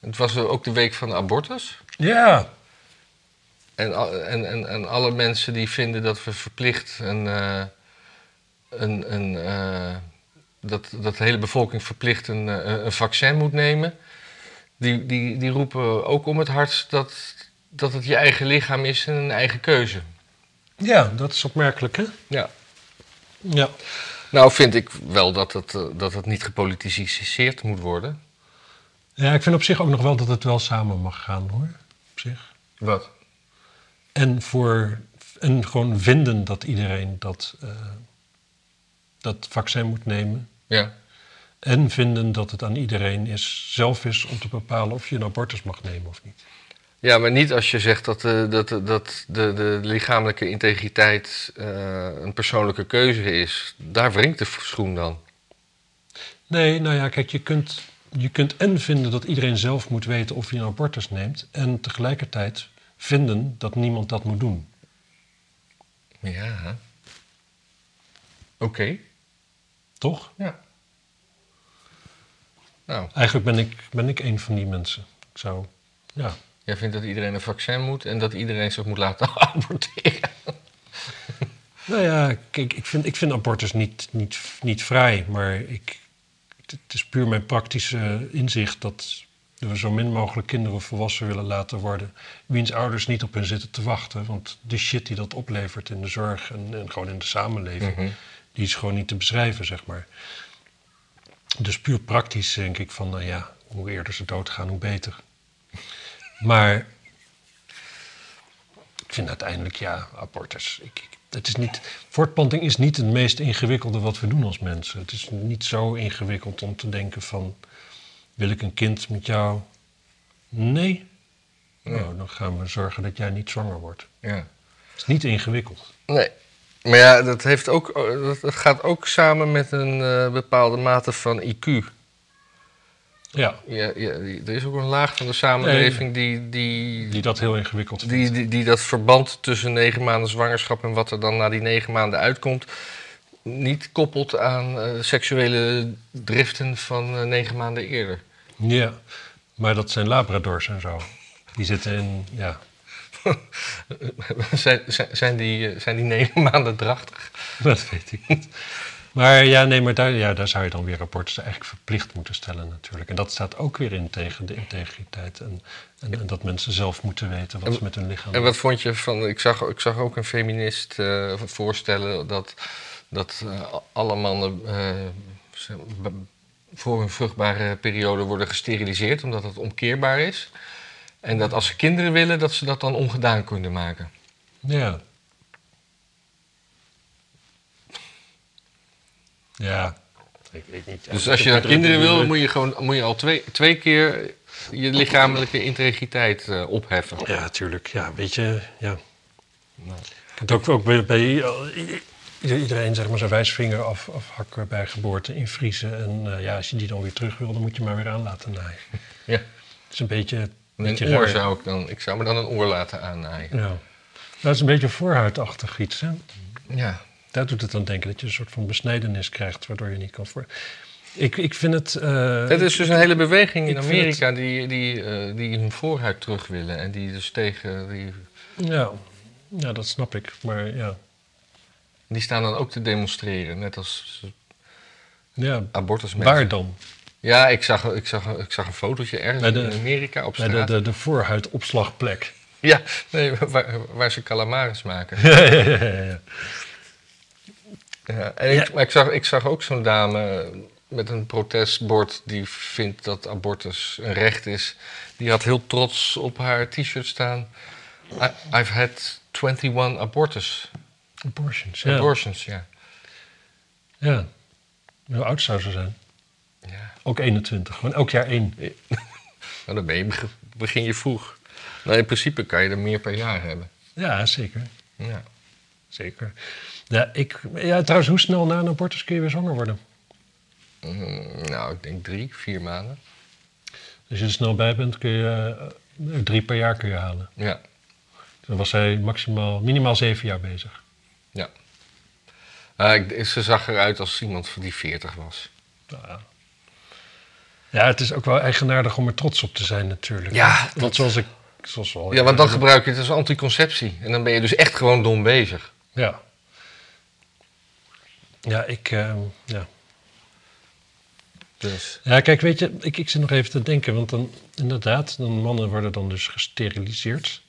Speaker 2: het was ook de week van de abortus.
Speaker 1: Ja.
Speaker 2: En, al- en, en, en alle mensen die vinden dat we verplicht een. eh, een, een eh, dat, dat de hele bevolking verplicht een, eh, een vaccin moet nemen. Die, die, die roepen ook om het hart dat, dat het je eigen lichaam is en een eigen keuze.
Speaker 1: Ja, dat is opmerkelijk, hè?
Speaker 2: Ja.
Speaker 1: Ja.
Speaker 2: Nou, vind ik wel dat het, eh, dat het niet gepolitiseerd moet worden.
Speaker 1: Ja, ik vind op zich ook nog wel dat het wel samen mag gaan, hoor. Op zich.
Speaker 2: Wat?
Speaker 1: En, voor, en gewoon vinden dat iedereen dat, eh, dat vaccin moet nemen.
Speaker 2: Ja.
Speaker 1: En vinden dat het aan iedereen is, zelf is om te bepalen of je een abortus mag nemen of niet.
Speaker 2: Ja, maar niet als je zegt dat, eh, dat, dat de, de lichamelijke integriteit eh, een persoonlijke keuze is. Daar wringt de schoen dan.
Speaker 1: Nee, nou ja, kijk, je kunt, je kunt en vinden dat iedereen zelf moet weten of hij een abortus neemt. En tegelijkertijd vinden dat niemand dat moet doen.
Speaker 2: Ja. Oké.
Speaker 1: Toch?
Speaker 2: Ja. Nou,
Speaker 1: Eigenlijk ben ik, ben ik een van die mensen. Ik zou, ja.
Speaker 2: jij vindt dat iedereen een vaccin moet en dat iedereen zich moet laten aborteren.
Speaker 1: Nou ja, kijk, ik vind, ik vind abortus niet, niet, niet vrij, maar ik, het is puur mijn praktische inzicht dat Dat we zo min mogelijk kinderen volwassen willen laten worden. Wiens ouders niet op hen zitten te wachten. Want de shit die dat oplevert in de zorg en, en gewoon in de samenleving.
Speaker 2: Mhm.
Speaker 1: Die is gewoon niet te beschrijven, zeg maar. Dus puur praktisch denk ik van, nou ja, hoe eerder ze doodgaan, hoe beter. Maar ik vind uiteindelijk, ja, abortus. Ik, ik- het is niet, voortplanting is niet het meest ingewikkelde wat we doen als mensen. Het is niet zo ingewikkeld om te denken van, wil ik een kind met jou? Nee. Nou, dan gaan we zorgen dat jij niet zwanger wordt.
Speaker 2: Ja.
Speaker 1: Het is niet ingewikkeld.
Speaker 2: Nee. Maar ja, dat, heeft ook, oh, dat dat gaat ook samen met een eh, bepaalde mate van IQ.
Speaker 1: Ja,
Speaker 2: Ja, ja, er is ook een laag van de samenleving die, die,
Speaker 1: die dat heel ingewikkeld vindt.
Speaker 2: die, die, die dat verband tussen negen maanden zwangerschap en wat er dan na die negen maanden uitkomt, niet koppelt aan eh, seksuele driften van eh, negen maanden eerder.
Speaker 1: Ja, maar dat zijn labradors en zo. Die zitten in, ja.
Speaker 2: zijn, zijn, zijn, die, eh, zijn die negen maanden drachtig?
Speaker 1: Dat weet ik niet. Maar ja, nee, maar daar, ja, daar zou je dan weer rapporten eigenlijk verplicht moeten stellen natuurlijk. En dat staat ook weer in tegen de integriteit. En, en, en dat mensen zelf moeten weten wat ze met hun lichaam
Speaker 2: En wat vond je van. Ik zag, ik zag ook een feminist eh, voorstellen dat, dat eh, alle mannen eh, ze- b- voor hun vruchtbare periode worden gesteriliseerd, omdat het omkeerbaar is. En dat als ze kinderen willen, dat ze dat dan ongedaan kunnen maken.
Speaker 1: Ja. Ja. Ik, ik niet.
Speaker 2: Dus als je dan kinderen wil, moet je, gewoon, moet je al twee, twee keer je lichamelijke integriteit eh, opheffen.
Speaker 1: Ja, tuurlijk. Ja, weet je, ja. Nou. Het ook, ook bij, bij i- i- iedereen zeg maar zijn wijsvinger af, afhakken bij geboorte, invriezen. En eh, ja, als je die dan weer terug wil, dan moet je maar weer aan laten naaien.
Speaker 2: Ja.
Speaker 1: Het is een beetje... beetje
Speaker 2: Een oor
Speaker 1: raar.
Speaker 2: zou ik dan. Ik zou me dan een oor laten aannaaien.
Speaker 1: Ja. Dat is een beetje voorhuidachtig iets, hè?
Speaker 2: Ja.
Speaker 1: Daar doet het aan denken, dat je een soort van besnijdenis krijgt, waardoor je niet kan voor... Ik, ik vind het... eh,
Speaker 2: Het is dus een hele beweging in
Speaker 1: Ik vind
Speaker 2: Amerika die, die, eh, die hun voorhuid terug willen. En die dus tegen. Die,
Speaker 1: Ja. ja, dat snap ik. Maar ja,
Speaker 2: die staan dan ook te demonstreren, net als
Speaker 1: ja
Speaker 2: abortusmensen.
Speaker 1: waar dan?
Speaker 2: Ja, ik zag, ik, zag, ik zag een fotootje ergens
Speaker 1: Bij de-
Speaker 2: in Amerika op
Speaker 1: Bij
Speaker 2: straat.
Speaker 1: de, de, de voorhuidopslagplek.
Speaker 2: Ja, nee, waar, waar ze calamaris maken.
Speaker 1: ja, ja, ja, ja.
Speaker 2: Ja, en Ik, maar ik zag, ik zag ook zo'n dame met een protestbord die vindt dat abortus een recht is. Die had heel trots op haar t-shirt staan. I- I've had 21 abortus.
Speaker 1: Abortions, ja.
Speaker 2: Abortions, ja.
Speaker 1: Ja. Hoe oud zou ze zijn?
Speaker 2: ja.
Speaker 1: Ook 21, gewoon elk jaar één.
Speaker 2: Nou, dan ben je, beg- begin je vroeg. Nou, in principe kan je er meer per jaar hebben.
Speaker 1: Ja, zeker.
Speaker 2: Ja.
Speaker 1: Zeker. Ja, ik, ja, trouwens, hoe snel na een abortus kun je weer zwanger worden?
Speaker 2: Mm, nou, ik denk drie, vier maanden.
Speaker 1: Als je er snel bij bent, kun je eh, drie per jaar kun je halen.
Speaker 2: Ja,
Speaker 1: Dan was hij maximaal, minimaal zeven jaar bezig.
Speaker 2: ja. Ah, ik, ze zag eruit als iemand die 40 was.
Speaker 1: Nou Ja. ja, het is ook wel eigenaardig om er trots op te zijn natuurlijk.
Speaker 2: Ja,
Speaker 1: want zoals ik... Zoals we al
Speaker 2: Ja, want dan gebruik je het als anticonceptie. En dan ben je dus echt gewoon dom bezig.
Speaker 1: Ja. Ja, ik... eh, ja.
Speaker 2: Dus.
Speaker 1: Ja, kijk, weet je, ik, ik zit nog even te denken, want dan inderdaad, dan mannen worden dan dus gesteriliseerd.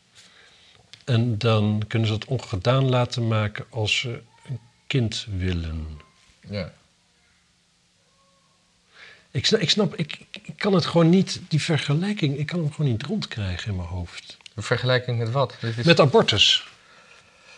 Speaker 1: En dan kunnen ze dat ongedaan laten maken als ze een kind willen.
Speaker 2: Ja.
Speaker 1: Ik snap, ik, snap ik, ik- ik kan het gewoon niet, die vergelijking, ik kan hem gewoon niet rondkrijgen in mijn hoofd.
Speaker 2: Een vergelijking met wat? Dit is-
Speaker 1: Met abortus.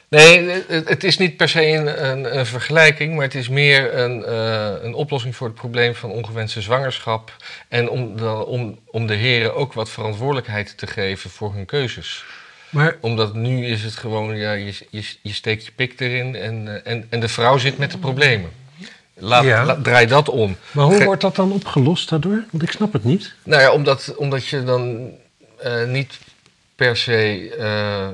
Speaker 2: Nee, het, het is niet per se een, een, een vergelijking, maar het is meer een, eh, een oplossing voor het probleem van ongewenste zwangerschap. En om de, om, om de heren ook wat verantwoordelijkheid te geven voor hun keuzes.
Speaker 1: Maar
Speaker 2: Omdat nu is het gewoon, ja, je, je, je steekt je pik erin en, eh, en, en de vrouw zit met de problemen. Laat,
Speaker 1: Ja.
Speaker 2: la- draai dat om.
Speaker 1: Maar hoe
Speaker 2: Ge-
Speaker 1: wordt dat dan opgelost daardoor? Want ik snap het niet.
Speaker 2: Nou ja, omdat, omdat je dan eh, niet per se. eh,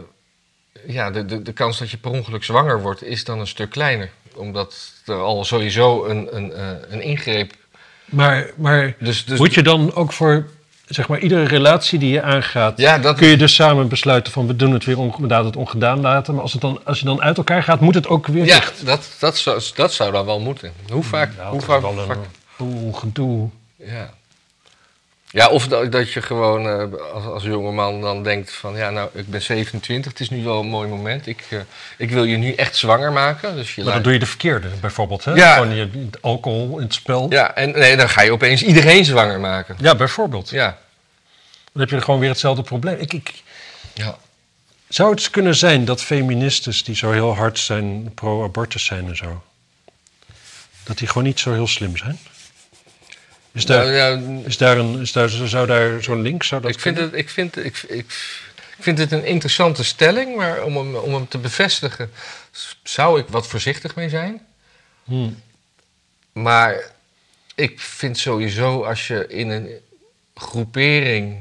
Speaker 2: ja, de, de, de kans dat je per ongeluk zwanger wordt is dan een stuk kleiner. Omdat er al sowieso een, een, eh, een ingreep.
Speaker 1: Maar, maar
Speaker 2: Dus, dus
Speaker 1: moet je dan ook voor zeg maar, iedere relatie die je aangaat,
Speaker 2: Ja, dat.
Speaker 1: kun je dus samen besluiten van we doen het weer onge- we laten het ongedaan laten. Maar als, het dan, als je dan uit elkaar gaat, moet het ook weer
Speaker 2: Ja,
Speaker 1: dicht.
Speaker 2: dat, dat, zou, dat zou
Speaker 1: Nou,
Speaker 2: dan wel moeten. Hoe vaak?
Speaker 1: Ja,
Speaker 2: hoe
Speaker 1: het is
Speaker 2: vaak,
Speaker 1: wel een
Speaker 2: vaak-
Speaker 1: boel gedoe.
Speaker 2: ja. Ja, of dat, dat je gewoon eh, als, als jonge man dan denkt van... ja, nou, ik ben 27, het is nu wel een mooi moment. Ik, eh, ik wil je nu echt zwanger maken. Dus je
Speaker 1: Maar dan
Speaker 2: laat-
Speaker 1: doe je de verkeerde bijvoorbeeld. Hè?
Speaker 2: Ja.
Speaker 1: Gewoon je alcohol in het spel. Ja,
Speaker 2: Ja, en nee, dan ga je opeens iedereen zwanger maken.
Speaker 1: bijvoorbeeld.
Speaker 2: Ja.
Speaker 1: Dan heb je gewoon weer hetzelfde probleem. Ik, ik,
Speaker 2: ja.
Speaker 1: zou het kunnen zijn dat feministes die zo heel hard zijn, pro-abortus zijn en zo... dat die gewoon niet zo heel slim zijn? Is daar,
Speaker 2: Nou, ja,
Speaker 1: is daar, een, is daar, zou daar zo'n link... Zou dat
Speaker 2: Ik vind,
Speaker 1: kunnen?
Speaker 2: het, ik, vind, ik, ik, ik vind het een interessante stelling, maar om hem, om hem te bevestigen s- zou ik wat voorzichtig mee zijn.
Speaker 1: Hmm.
Speaker 2: Maar ik vind sowieso als je in een groepering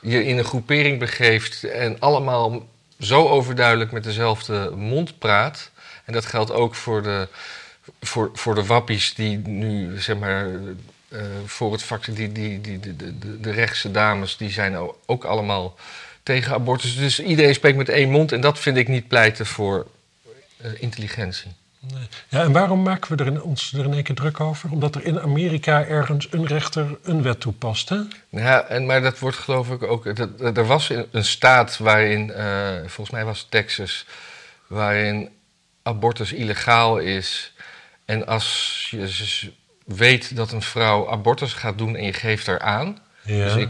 Speaker 2: je in een groepering begeeft en allemaal zo overduidelijk met dezelfde mond praat. En dat geldt ook voor de, voor, voor de wappies die nu, zeg maar, eh, voor het vaccin, die, die, die, de, de- de, de rechtse dames, die zijn o- ook allemaal tegen abortus. Dus iedereen spreekt met één mond en dat vind ik niet pleiten voor eh, intelligentie.
Speaker 1: Ja, en waarom maken we er in, ons er in één keer druk over? Omdat er in Amerika ergens een rechter een wet toepast, hè?
Speaker 2: Ja, en, maar dat wordt geloof ik ook. Dat, dat- er was een- een staat waarin, eh, volgens mij was het Texas, waarin abortus illegaal is. En als je z- weet dat een vrouw abortus gaat doen en je geeft haar aan,
Speaker 1: Ja.
Speaker 2: dus ik,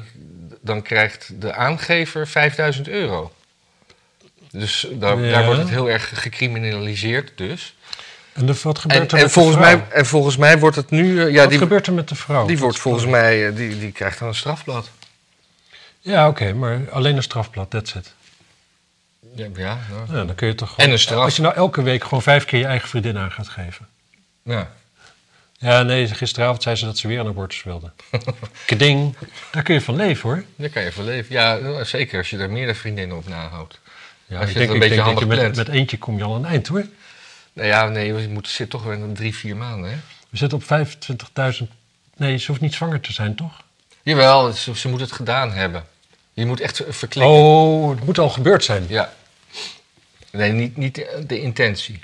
Speaker 2: dan krijgt de aangever 5000 euro. Dus daar,
Speaker 1: Ja.
Speaker 2: daar wordt het heel erg gecriminaliseerd dus.
Speaker 1: En de- wat gebeurt
Speaker 2: En,
Speaker 1: er
Speaker 2: en,
Speaker 1: met
Speaker 2: volgens
Speaker 1: de vrouw?
Speaker 2: mij, en volgens mij wordt het nu... eh, Ja,
Speaker 1: wat
Speaker 2: die,
Speaker 1: gebeurt er met de vrouw?
Speaker 2: die wordt volgens mij, eh, die, die krijgt dan een strafblad.
Speaker 1: Ja, oké, maar alleen een strafblad, that's it.
Speaker 2: Ja, ja nou,
Speaker 1: Ja, dan kun je toch
Speaker 2: En een straf.
Speaker 1: Als je nou elke week gewoon vijf keer je eigen vriendin aan gaat geven.
Speaker 2: Ja.
Speaker 1: Ja, nee, gisteravond zei ze dat ze weer een abortus wilde. Keding, daar kun je van leven, hoor.
Speaker 2: Daar kan je van leven. Ja, nou, zeker als je daar meerdere vriendinnen op nahoudt.
Speaker 1: Ja,
Speaker 2: Als je het een beetje
Speaker 1: dat je
Speaker 2: handig
Speaker 1: met,
Speaker 2: plant.
Speaker 1: met eentje kom je al aan een eind, hoor.
Speaker 2: Nou ja, nee, je moet, zit toch weer in drie, vier maanden, hè?
Speaker 1: We zitten op 25.000... Nee, ze hoeft niet zwanger te zijn, toch?
Speaker 2: Jawel, ze, ze moet het gedaan hebben. Je moet echt verklikken.
Speaker 1: Oh, het moet al gebeurd zijn.
Speaker 2: Ja. Nee, niet, niet de, de intentie.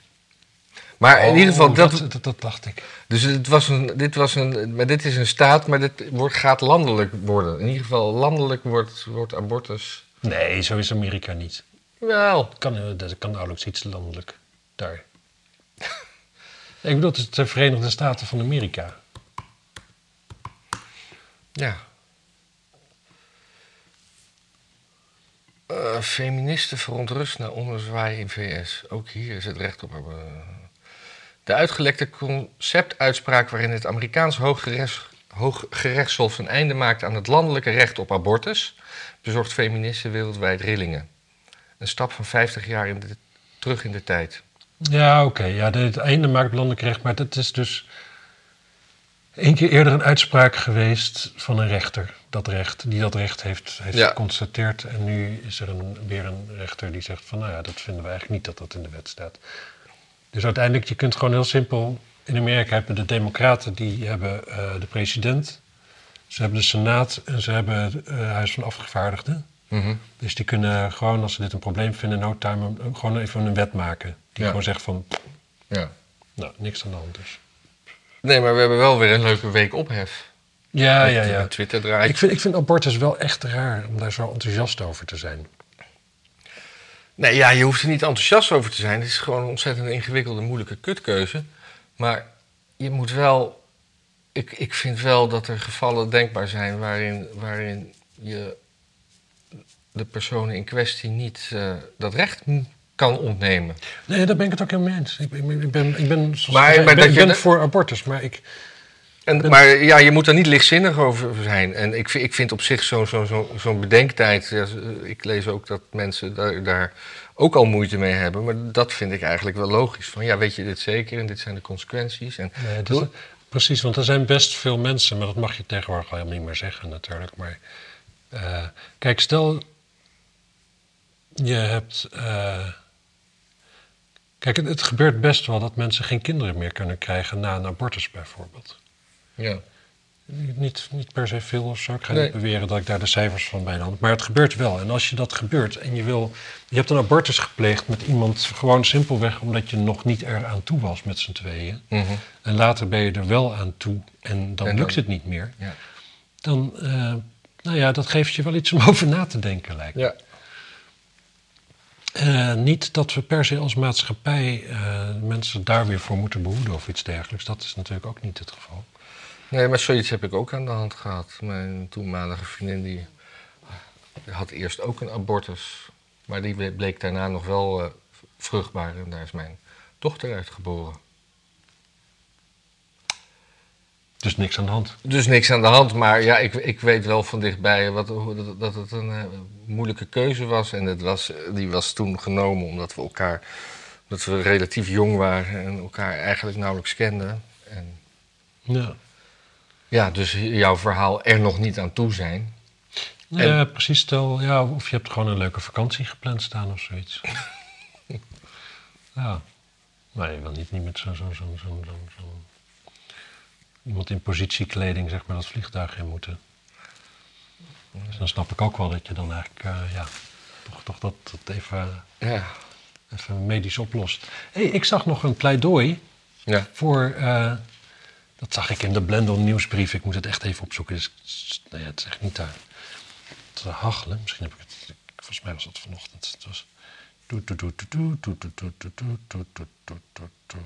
Speaker 2: Maar in
Speaker 1: Oh,
Speaker 2: ieder geval, dat,
Speaker 1: dat, dat, dat dacht ik.
Speaker 2: dus het was een, dit, was een, maar dit is een staat, maar dit wordt, gaat landelijk worden. In ieder geval, landelijk wordt, wordt abortus.
Speaker 1: Nee, zo is Amerika niet.
Speaker 2: Wel,
Speaker 1: Kan, eh, dat kan nauwelijks iets landelijk daar. ik bedoel, het is de Verenigde Staten van Amerika.
Speaker 2: Ja. Eh, feministen verontrust na onderzwaai in VS. Ook hier is het recht op. eh, De uitgelekte conceptuitspraak waarin het Amerikaans Hooggerechts- Hooggerechtshof een einde maakt aan het landelijke recht op abortus, bezorgt feministen wereldwijd rillingen. Een stap van 50 jaar in de- terug in de tijd.
Speaker 1: Ja, oké. Ja, de- het einde maakt landelijk recht. Maar dat is dus één keer eerder een uitspraak geweest van een rechter. Dat recht, die dat recht heeft, heeft
Speaker 2: Ja.
Speaker 1: geconstateerd. En nu is er een, weer een rechter die zegt van... nou ja, dat vinden we eigenlijk niet dat dat in de wet staat. Dus uiteindelijk, je kunt gewoon heel simpel... In Amerika hebben de democraten, die hebben eh, de president... ze hebben de senaat en ze hebben het eh, huis van afgevaardigden... Dus die kunnen gewoon, als ze dit een probleem vinden, in no time, een- gewoon even een wet maken. Die
Speaker 2: Ja.
Speaker 1: gewoon zegt van,
Speaker 2: Ja.
Speaker 1: nou, niks aan de hand dus.
Speaker 2: Nee, maar we hebben wel weer een leuke week ophef.
Speaker 1: Ja,
Speaker 2: Met-
Speaker 1: ja, ja.
Speaker 2: met Twitter draait.
Speaker 1: Ik vind, ik vind abortus wel echt raar om daar zo enthousiast over te zijn.
Speaker 2: Nee, ja, je hoeft er niet enthousiast over te zijn. Het is gewoon een ontzettend ingewikkelde, moeilijke kutkeuze. Maar je moet wel... Ik, ik vind wel dat er gevallen denkbaar zijn waarin, waarin je de personen in kwestie niet eh, dat recht m- kan ontnemen.
Speaker 1: Nee, daar ben ik het ook helemaal mee eens. Ik, ben- ik ben, ik ben, zoals
Speaker 2: Maar-
Speaker 1: ik zei,
Speaker 2: maar
Speaker 1: ik ben,
Speaker 2: dat
Speaker 1: ik
Speaker 2: je
Speaker 1: ben
Speaker 2: de-
Speaker 1: voor abortus, maar ik...
Speaker 2: En, maar ja, je moet daar niet lichtzinnig over zijn. En ik, vind- ik vind op zich zo'n zo, zo, zo'n bedenktijd. ja, z- ik lees ook dat mensen daar, daar ook al moeite mee hebben. Maar dat vind ik eigenlijk wel logisch. Van ja, weet je dit zeker en dit zijn de consequenties. En,
Speaker 1: Nee, dat is-
Speaker 2: Doe-
Speaker 1: precies, want er zijn best veel mensen, maar dat mag je tegenwoordig al helemaal niet meer zeggen natuurlijk. Maar eh, kijk, stel je hebt. eh, kijk, het, het gebeurt best wel dat mensen geen kinderen meer kunnen krijgen na een abortus bijvoorbeeld.
Speaker 2: ja.
Speaker 1: Niet, niet per se veel of zo. Ik ga
Speaker 2: Nee.
Speaker 1: niet beweren dat ik daar de cijfers van bij de hand. Maar het gebeurt wel. En als je dat gebeurt en je wil. Je hebt een abortus gepleegd met iemand gewoon simpelweg omdat je nog niet eraan toe was met z'n tweeën.
Speaker 2: Mhm.
Speaker 1: En later ben je er wel aan toe en dan
Speaker 2: En dan-
Speaker 1: lukt het niet meer.
Speaker 2: Ja.
Speaker 1: dan, eh, nou ja, dat geeft je wel iets om over na te denken, lijkt me.
Speaker 2: Ja.
Speaker 1: Eh, niet dat we per se als maatschappij eh, mensen daar weer voor moeten behoeden of iets dergelijks. Dat is natuurlijk ook niet het geval.
Speaker 2: Nee, maar zoiets heb ik ook aan de hand gehad. Mijn toenmalige vriendin die had eerst ook een abortus. Maar die bleek daarna nog wel eh, vruchtbaar. En daar is mijn dochter uit geboren.
Speaker 1: Dus niks aan de hand.
Speaker 2: Dus niks aan de hand, maar ja, ik, ik weet wel van dichtbij wat, hoe- dat, dat het een eh, moeilijke keuze was. En het was, die was toen genomen omdat we elkaar, omdat we relatief jong waren en elkaar eigenlijk nauwelijks kenden. En
Speaker 1: Ja,
Speaker 2: ja, dus jouw verhaal er nog niet aan toe zijn.
Speaker 1: Nou ja precies. Stel, ja, of je hebt gewoon een leuke vakantie gepland staan of zoiets. ja. Maar je wil niet, niet met zo'n zo, zo, zo, zo, zo- iemand in positiekleding zeg maar dat vliegtuig in moeten. Dus dan snap ik ook wel dat je dan eigenlijk eh, ja, toch, toch dat, dat even,
Speaker 2: Ja.
Speaker 1: even medisch oplost. hey, ik zag nog een pleidooi
Speaker 2: Ja.
Speaker 1: voor. eh, dat zag ik in de Blendel nieuwsbrief. Ik moet het echt even opzoeken. Dus, s- nee, het is echt niet daar te hachelen. Misschien heb ik het. ik- Volgens mij was dat vanochtend. Het was. Doet, doet, doet, doet, doet, doet, doet, doet, doet, doet, doet, doet, doet, doet,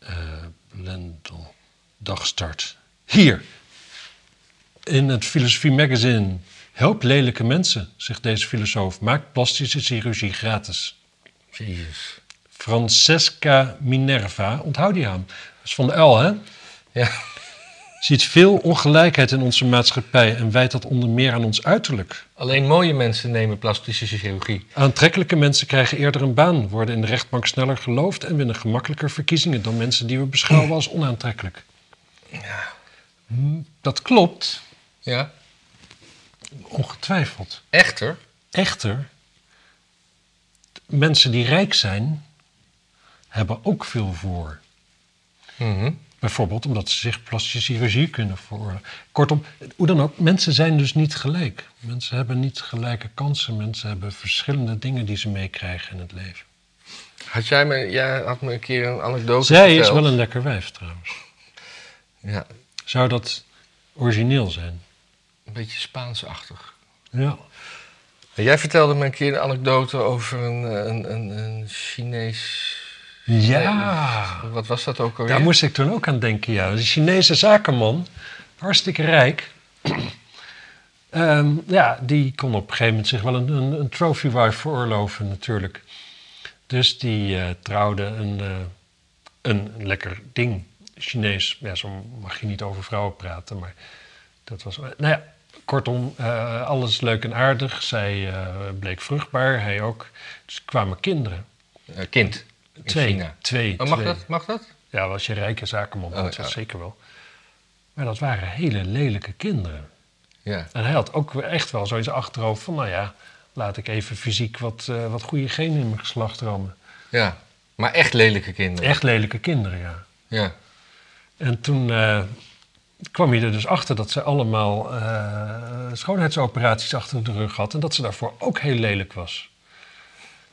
Speaker 1: doet. Eh, Blendel. Dagstart. Hier. In het Filosofie Magazine. Help lelijke mensen, zegt deze filosoof. Maak plastische chirurgie gratis.
Speaker 2: Jezus.
Speaker 1: Francesca Minerva, onthoud die aan. Dat is van de L, hè?
Speaker 2: Ja.
Speaker 1: Ziet veel ongelijkheid in onze maatschappij en wijt dat onder meer aan ons uiterlijk.
Speaker 2: Alleen mooie mensen nemen plastische chirurgie.
Speaker 1: Aantrekkelijke mensen krijgen eerder een baan, worden in de rechtbank sneller geloofd en winnen gemakkelijker verkiezingen dan mensen die we beschouwen als onaantrekkelijk. Hm, Dat klopt,
Speaker 2: Ja.
Speaker 1: ongetwijfeld.
Speaker 2: Echter.
Speaker 1: Echter, t- mensen die rijk zijn, hebben ook veel voor.
Speaker 2: Mhm.
Speaker 1: Bijvoorbeeld omdat ze zich plastische chirurgie kunnen voor. Kortom, hoe dan ook, mensen zijn dus niet gelijk. Mensen hebben niet gelijke kansen. Mensen hebben verschillende dingen die ze meekrijgen in het leven.
Speaker 2: Had jij me, jij had me een keer een anekdote
Speaker 1: Zij is
Speaker 2: verteld.
Speaker 1: wel een lekker wijf trouwens.
Speaker 2: Ja,
Speaker 1: Zou dat origineel zijn?
Speaker 2: een beetje Spaansachtig.
Speaker 1: Ja.
Speaker 2: Jij vertelde me een keer een anekdote over een, eh, een, een, een Chinees.
Speaker 1: Ja.
Speaker 2: Wat was dat ook alweer?
Speaker 1: Daar moest ik toen ook aan denken, ja. De Chinese zakenman, hartstikke rijk. Ehm, ja, die kon op een gegeven moment zich wel een, een, een trophy wife veroorloven natuurlijk. Dus die eh, trouwde een, eh, een lekker ding. Chinees, ja, zo mag je niet over vrouwen praten, maar dat was... Nou ja, kortom, eh, alles leuk en aardig. Zij eh, bleek vruchtbaar, hij ook. Dus er kwamen kinderen.
Speaker 2: Eh, kind. In
Speaker 1: Twee.
Speaker 2: China.
Speaker 1: Twee.
Speaker 2: Oh, mag
Speaker 1: twee.
Speaker 2: dat? Mag dat?
Speaker 1: Ja, als je rijke zakenman bent,
Speaker 2: Oh, ja.
Speaker 1: dat zeker wel. Maar dat waren hele lelijke kinderen.
Speaker 2: Ja.
Speaker 1: En hij had ook echt wel zoiets achterhoofd van... nou ja, laat ik even fysiek wat, eh, wat goede genen in mijn geslacht rammen.
Speaker 2: ja. Maar echt lelijke kinderen.
Speaker 1: Echt lelijke kinderen, ja.
Speaker 2: Ja.
Speaker 1: En toen eh, kwam hij er dus achter dat ze allemaal eh, schoonheidsoperaties achter de rug had... en dat ze daarvoor ook heel lelijk was.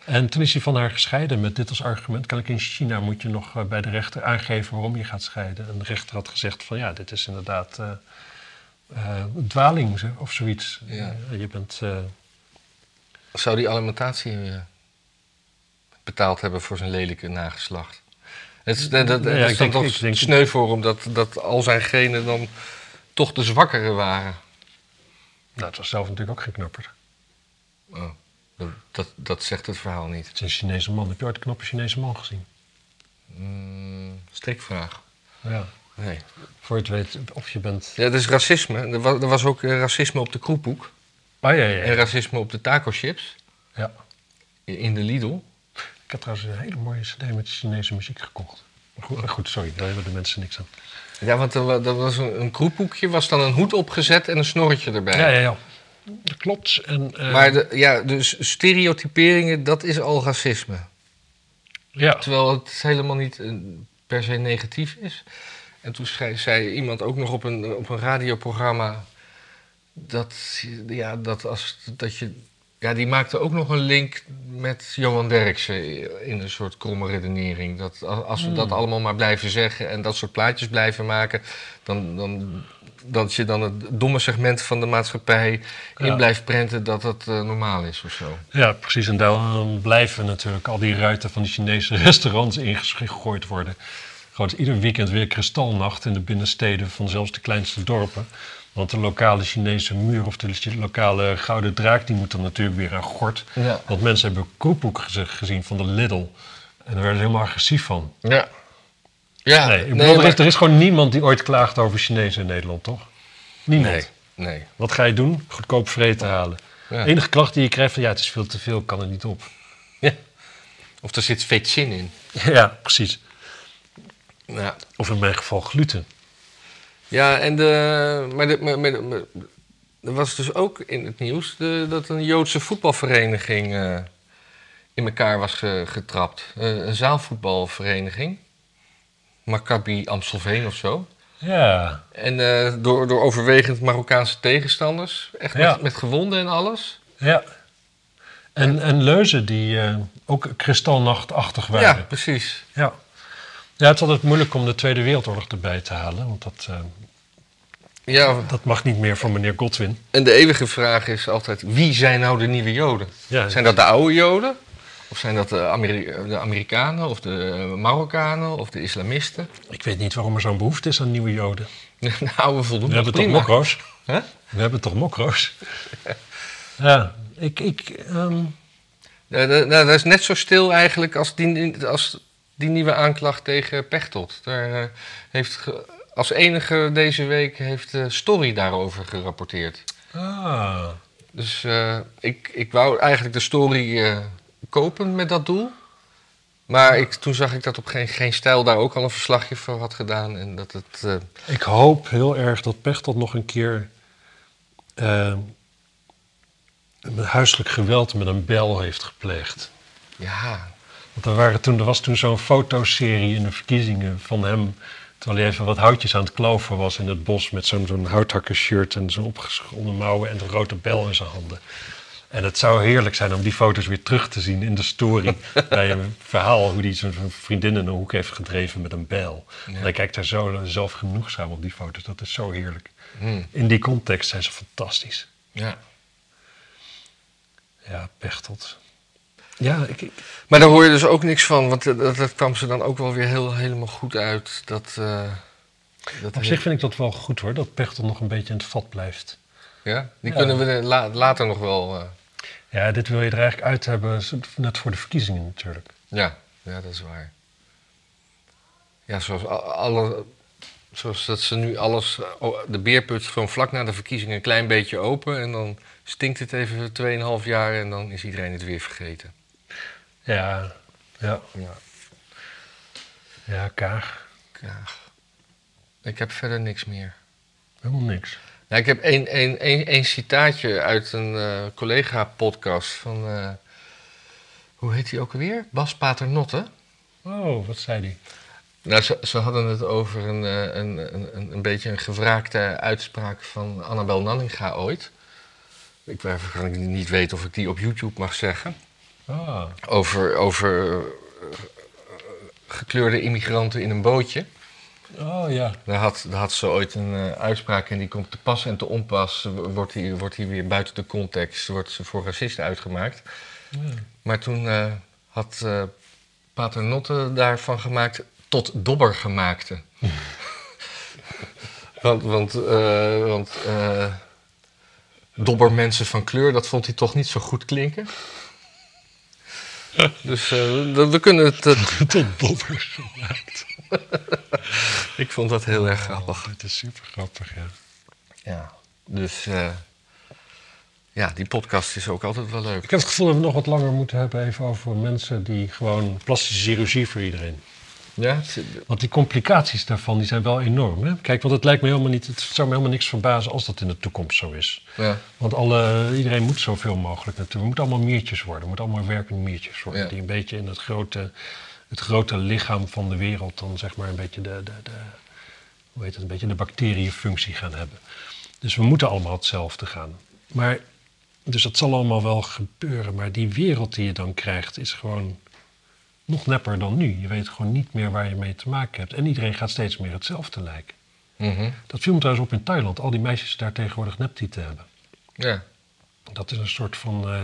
Speaker 1: En toen is hij van haar gescheiden met dit als argument. Kan ik in China moet je nog eh, bij de rechter aangeven waarom je gaat scheiden. En de rechter had gezegd van ja, dit is inderdaad eh, eh, een dwaling zo- of zoiets.
Speaker 2: Ja.
Speaker 1: Eh, je bent... eh,
Speaker 2: Zou die alimentatie eh, betaald hebben voor zijn lelijke nageslacht? Het is, dat, dat,
Speaker 1: Nou ja,
Speaker 2: dat
Speaker 1: ik
Speaker 2: is dan
Speaker 1: denk-
Speaker 2: toch
Speaker 1: ik denk-
Speaker 2: sneu voor hem dat, dat al zijn genen dan toch de zwakkere waren.
Speaker 1: nou, het was zelf natuurlijk ook geen knapper.
Speaker 2: Oh, dat, dat, dat zegt het verhaal niet.
Speaker 1: Het is een Chinese man. Heb je ooit een knappe Chinese man gezien?
Speaker 2: Mm, strikvraag.
Speaker 1: Ja.
Speaker 2: Nee.
Speaker 1: Voor je het weet, of je bent...
Speaker 2: Ja, dat is racisme. Er was, er was ook eh, racisme op de kroephoek.
Speaker 1: Ah, ja, ja,
Speaker 2: En
Speaker 1: ja.
Speaker 2: racisme op de taco chips.
Speaker 1: ja.
Speaker 2: In de Lidl.
Speaker 1: Ik heb trouwens een hele mooie cd met Chinese muziek gekocht. Maar goed, eh, goed sorry, daar hebben de mensen niks aan.
Speaker 2: Ja, want er, wa- er was een, een kroephoekje, was dan een hoed opgezet en een snorretje erbij.
Speaker 1: Ja, ja, ja. Dat klopt. En, eh,
Speaker 2: Maar de, ja, dus stereotyperingen, dat is al racisme.
Speaker 1: ja.
Speaker 2: Terwijl het helemaal niet eh, per se negatief is. En toen schreef, zei iemand ook nog op een, op een radioprogramma dat, ja, dat, als, dat je. Ja, die maakte ook nog een link met Johan Derksen in een soort kromme redenering. Dat a- als we dat allemaal maar blijven zeggen en dat soort plaatjes blijven maken, dan, dan dat je dan het domme segment van de maatschappij
Speaker 1: Ja.
Speaker 2: in blijft prenten dat dat eh, normaal is of zo.
Speaker 1: Ja, precies. En daarom blijven natuurlijk al die ruiten van de Chinese restaurants ingegooid worden. Gewoon is ieder weekend weer kristalnacht in de binnensteden van zelfs de kleinste dorpen. Want de lokale Chinese muur of de chi- lokale gouden draak, die moet dan natuurlijk weer aan gort.
Speaker 2: Ja.
Speaker 1: Want mensen hebben koepoek geze- gezien van de Lidl. En daar werden ze helemaal agressief van.
Speaker 2: Ja. Ja,
Speaker 1: Nee, ik bedoel, er, is,
Speaker 2: maar-
Speaker 1: er is gewoon niemand die ooit klaagt over Chinezen in Nederland, toch? Niemand.
Speaker 2: Nee, nee.
Speaker 1: Wat ga je doen? Goedkoop vreten halen.
Speaker 2: Ja.
Speaker 1: De enige klacht die je krijgt van ja, het is veel te veel, kan er niet op.
Speaker 2: Of er zit vetchin in.
Speaker 1: Ja, precies.
Speaker 2: Ja.
Speaker 1: Of in mijn geval gluten.
Speaker 2: Ja, en de, maar, de, maar, maar- maar- er was dus ook in het nieuws de- dat een Joodse voetbalvereniging eh, in elkaar was ge- getrapt. Eh, een zaalvoetbalvereniging. Maccabi Amstelveen of zo.
Speaker 1: Ja,
Speaker 2: En eh, door, door overwegend Marokkaanse tegenstanders. Echt met,
Speaker 1: Ja.
Speaker 2: met gewonden en alles.
Speaker 1: ja. En, en leuzen die eh, ook kristalnachtachtig
Speaker 2: Ja,
Speaker 1: waren.
Speaker 2: precies.
Speaker 1: Ja. ja, het is altijd moeilijk om de Tweede Wereldoorlog erbij te halen. Want dat, eh,
Speaker 2: Ja,
Speaker 1: dat mag niet meer voor meneer Godwin.
Speaker 2: en de eeuwige vraag is altijd: wie zijn nou de nieuwe Joden?
Speaker 1: Ja,
Speaker 2: Zijn dat de oude Joden? Of zijn dat de, Ameri- de Amerikanen of de eh, Marokkanen of de islamisten?
Speaker 1: Ik weet niet waarom er zo'n behoefte is aan nieuwe joden.
Speaker 2: De oude voldoen
Speaker 1: We
Speaker 2: nog
Speaker 1: hebben toch
Speaker 2: prima.
Speaker 1: mokro's?
Speaker 2: Hè?
Speaker 1: We hebben toch mokro's? ja, ik... ik ehm,
Speaker 2: Ja, dat- nou, dat is net zo stil eigenlijk als die, als die nieuwe aanklacht tegen Pechtold. Daar eh, heeft ge- als enige deze week heeft eh, Story daarover gerapporteerd.
Speaker 1: ah,
Speaker 2: Dus eh, ik, ik wou eigenlijk de Story eh, kopen met dat doel. Maar ik, toen zag ik dat op geen, geen stijl daar ook al een verslagje voor had gedaan. En dat het. eh,
Speaker 1: ik hoop heel erg dat Pechtold nog een keer... ehm, met huiselijk geweld met een bel heeft gepleegd.
Speaker 2: ja,
Speaker 1: Want er, waren toen, er was toen zo'n fotoserie in de verkiezingen van hem... terwijl hij even wat houtjes aan het kloven was in het bos... met zo'n zo'n houthakkershirt en zo'n opgeschonden mouwen... en een rode bel in zijn handen. En het zou heerlijk zijn om die foto's weer terug te zien in de story... bij een verhaal hoe hij zijn zijn vriendin in een hoek heeft gedreven met een bijl. En hij kijkt daar zo zelf genoegzaam op die foto's. Dat is zo heerlijk.
Speaker 2: Hmm.
Speaker 1: In die context zijn ze fantastisch.
Speaker 2: ja.
Speaker 1: Ja, Pechtold. Ja, ik, ik-
Speaker 2: Maar daar hoor je dus ook niks van, want eh, dat, dat kwam ze dan ook wel weer heel, helemaal goed uit. Dat, eh, dat
Speaker 1: op zich vind ik dat wel goed hoor... dat Pechtold nog een beetje in het vat blijft...
Speaker 2: Ja, die
Speaker 1: Ja.
Speaker 2: kunnen we eh, la- later nog wel. eh,
Speaker 1: Ja, dit wil je er eigenlijk uit hebben, net voor de verkiezingen natuurlijk.
Speaker 2: ja. ja, dat is waar. Ja, zoals, a- alle, zoals dat ze nu alles, eh, o- de beerput gewoon vlak na de verkiezingen een klein beetje open. En dan stinkt het even 2,5 jaar en dan is iedereen het weer vergeten.
Speaker 1: Ja, ja,
Speaker 2: Ja,
Speaker 1: ja, Kaag.
Speaker 2: Kaag. Ik heb verder niks meer.
Speaker 1: Helemaal niks.
Speaker 2: Nou, ik heb één een, een, een citaatje uit een eh, collega-podcast van. eh, hoe heet die ook alweer? Bas Paternotte.
Speaker 1: Oh, wat zei die?
Speaker 2: Nou, ze, ze hadden het over een, eh, een, een, een- een beetje een gewraakte uitspraak van Annabel Nanninga ooit. Ik weet even kan ik niet weten of ik die op YouTube mag zeggen.
Speaker 1: Ah,
Speaker 2: Over, over eh, gekleurde immigranten in een bootje.
Speaker 1: oh ja.
Speaker 2: Daar had, daar had ze ooit een eh, uitspraak en die komt te pas en te onpas. eh, Wordt die, wordt die weer buiten de context, wordt ze voor racist uitgemaakt. Hmm. Maar toen eh, had eh Paternotte daarvan gemaakt tot dobbergemaakte. want want, eh, want eh, dobbermensen van kleur, dat vond hij toch niet zo goed klinken. dus eh, we, we kunnen het... eh,
Speaker 1: Tot dobber gemaakt.
Speaker 2: ik vond dat heel erg grappig.
Speaker 1: Oh, Het is super grappig, ja.
Speaker 2: Ja, dus eh, ja, die podcast is ook altijd wel leuk.
Speaker 1: Ik heb het gevoel dat we nog wat langer moeten hebben even over mensen die gewoon plastische chirurgie voor iedereen.
Speaker 2: Ja, het is-
Speaker 1: Want die complicaties daarvan die zijn wel enorm. Hè? Kijk, want het lijkt me helemaal niet, het zou me helemaal niks verbazen als dat in de toekomst zo is.
Speaker 2: ja,
Speaker 1: Want alle, iedereen moet zoveel mogelijk natuurlijk. We moeten allemaal miertjes worden. We moeten allemaal werkende miertjes worden.
Speaker 2: Ja.
Speaker 1: Die een beetje in het grote, het grote lichaam van de wereld dan zeg maar een beetje de, de, de, hoe heet het, een beetje de bacteriënfunctie gaan hebben. Dus we moeten allemaal hetzelfde gaan. Maar, dus dat zal allemaal wel gebeuren. Maar die wereld die je dan krijgt is gewoon nog nepper dan nu. Je weet gewoon niet meer waar je mee te maken hebt. En iedereen gaat steeds meer hetzelfde lijken.
Speaker 2: Mhm.
Speaker 1: Dat viel me trouwens op in Thailand. Al die meisjes daar tegenwoordig neptieten hebben.
Speaker 2: Ja.
Speaker 1: Dat is een soort van... eh,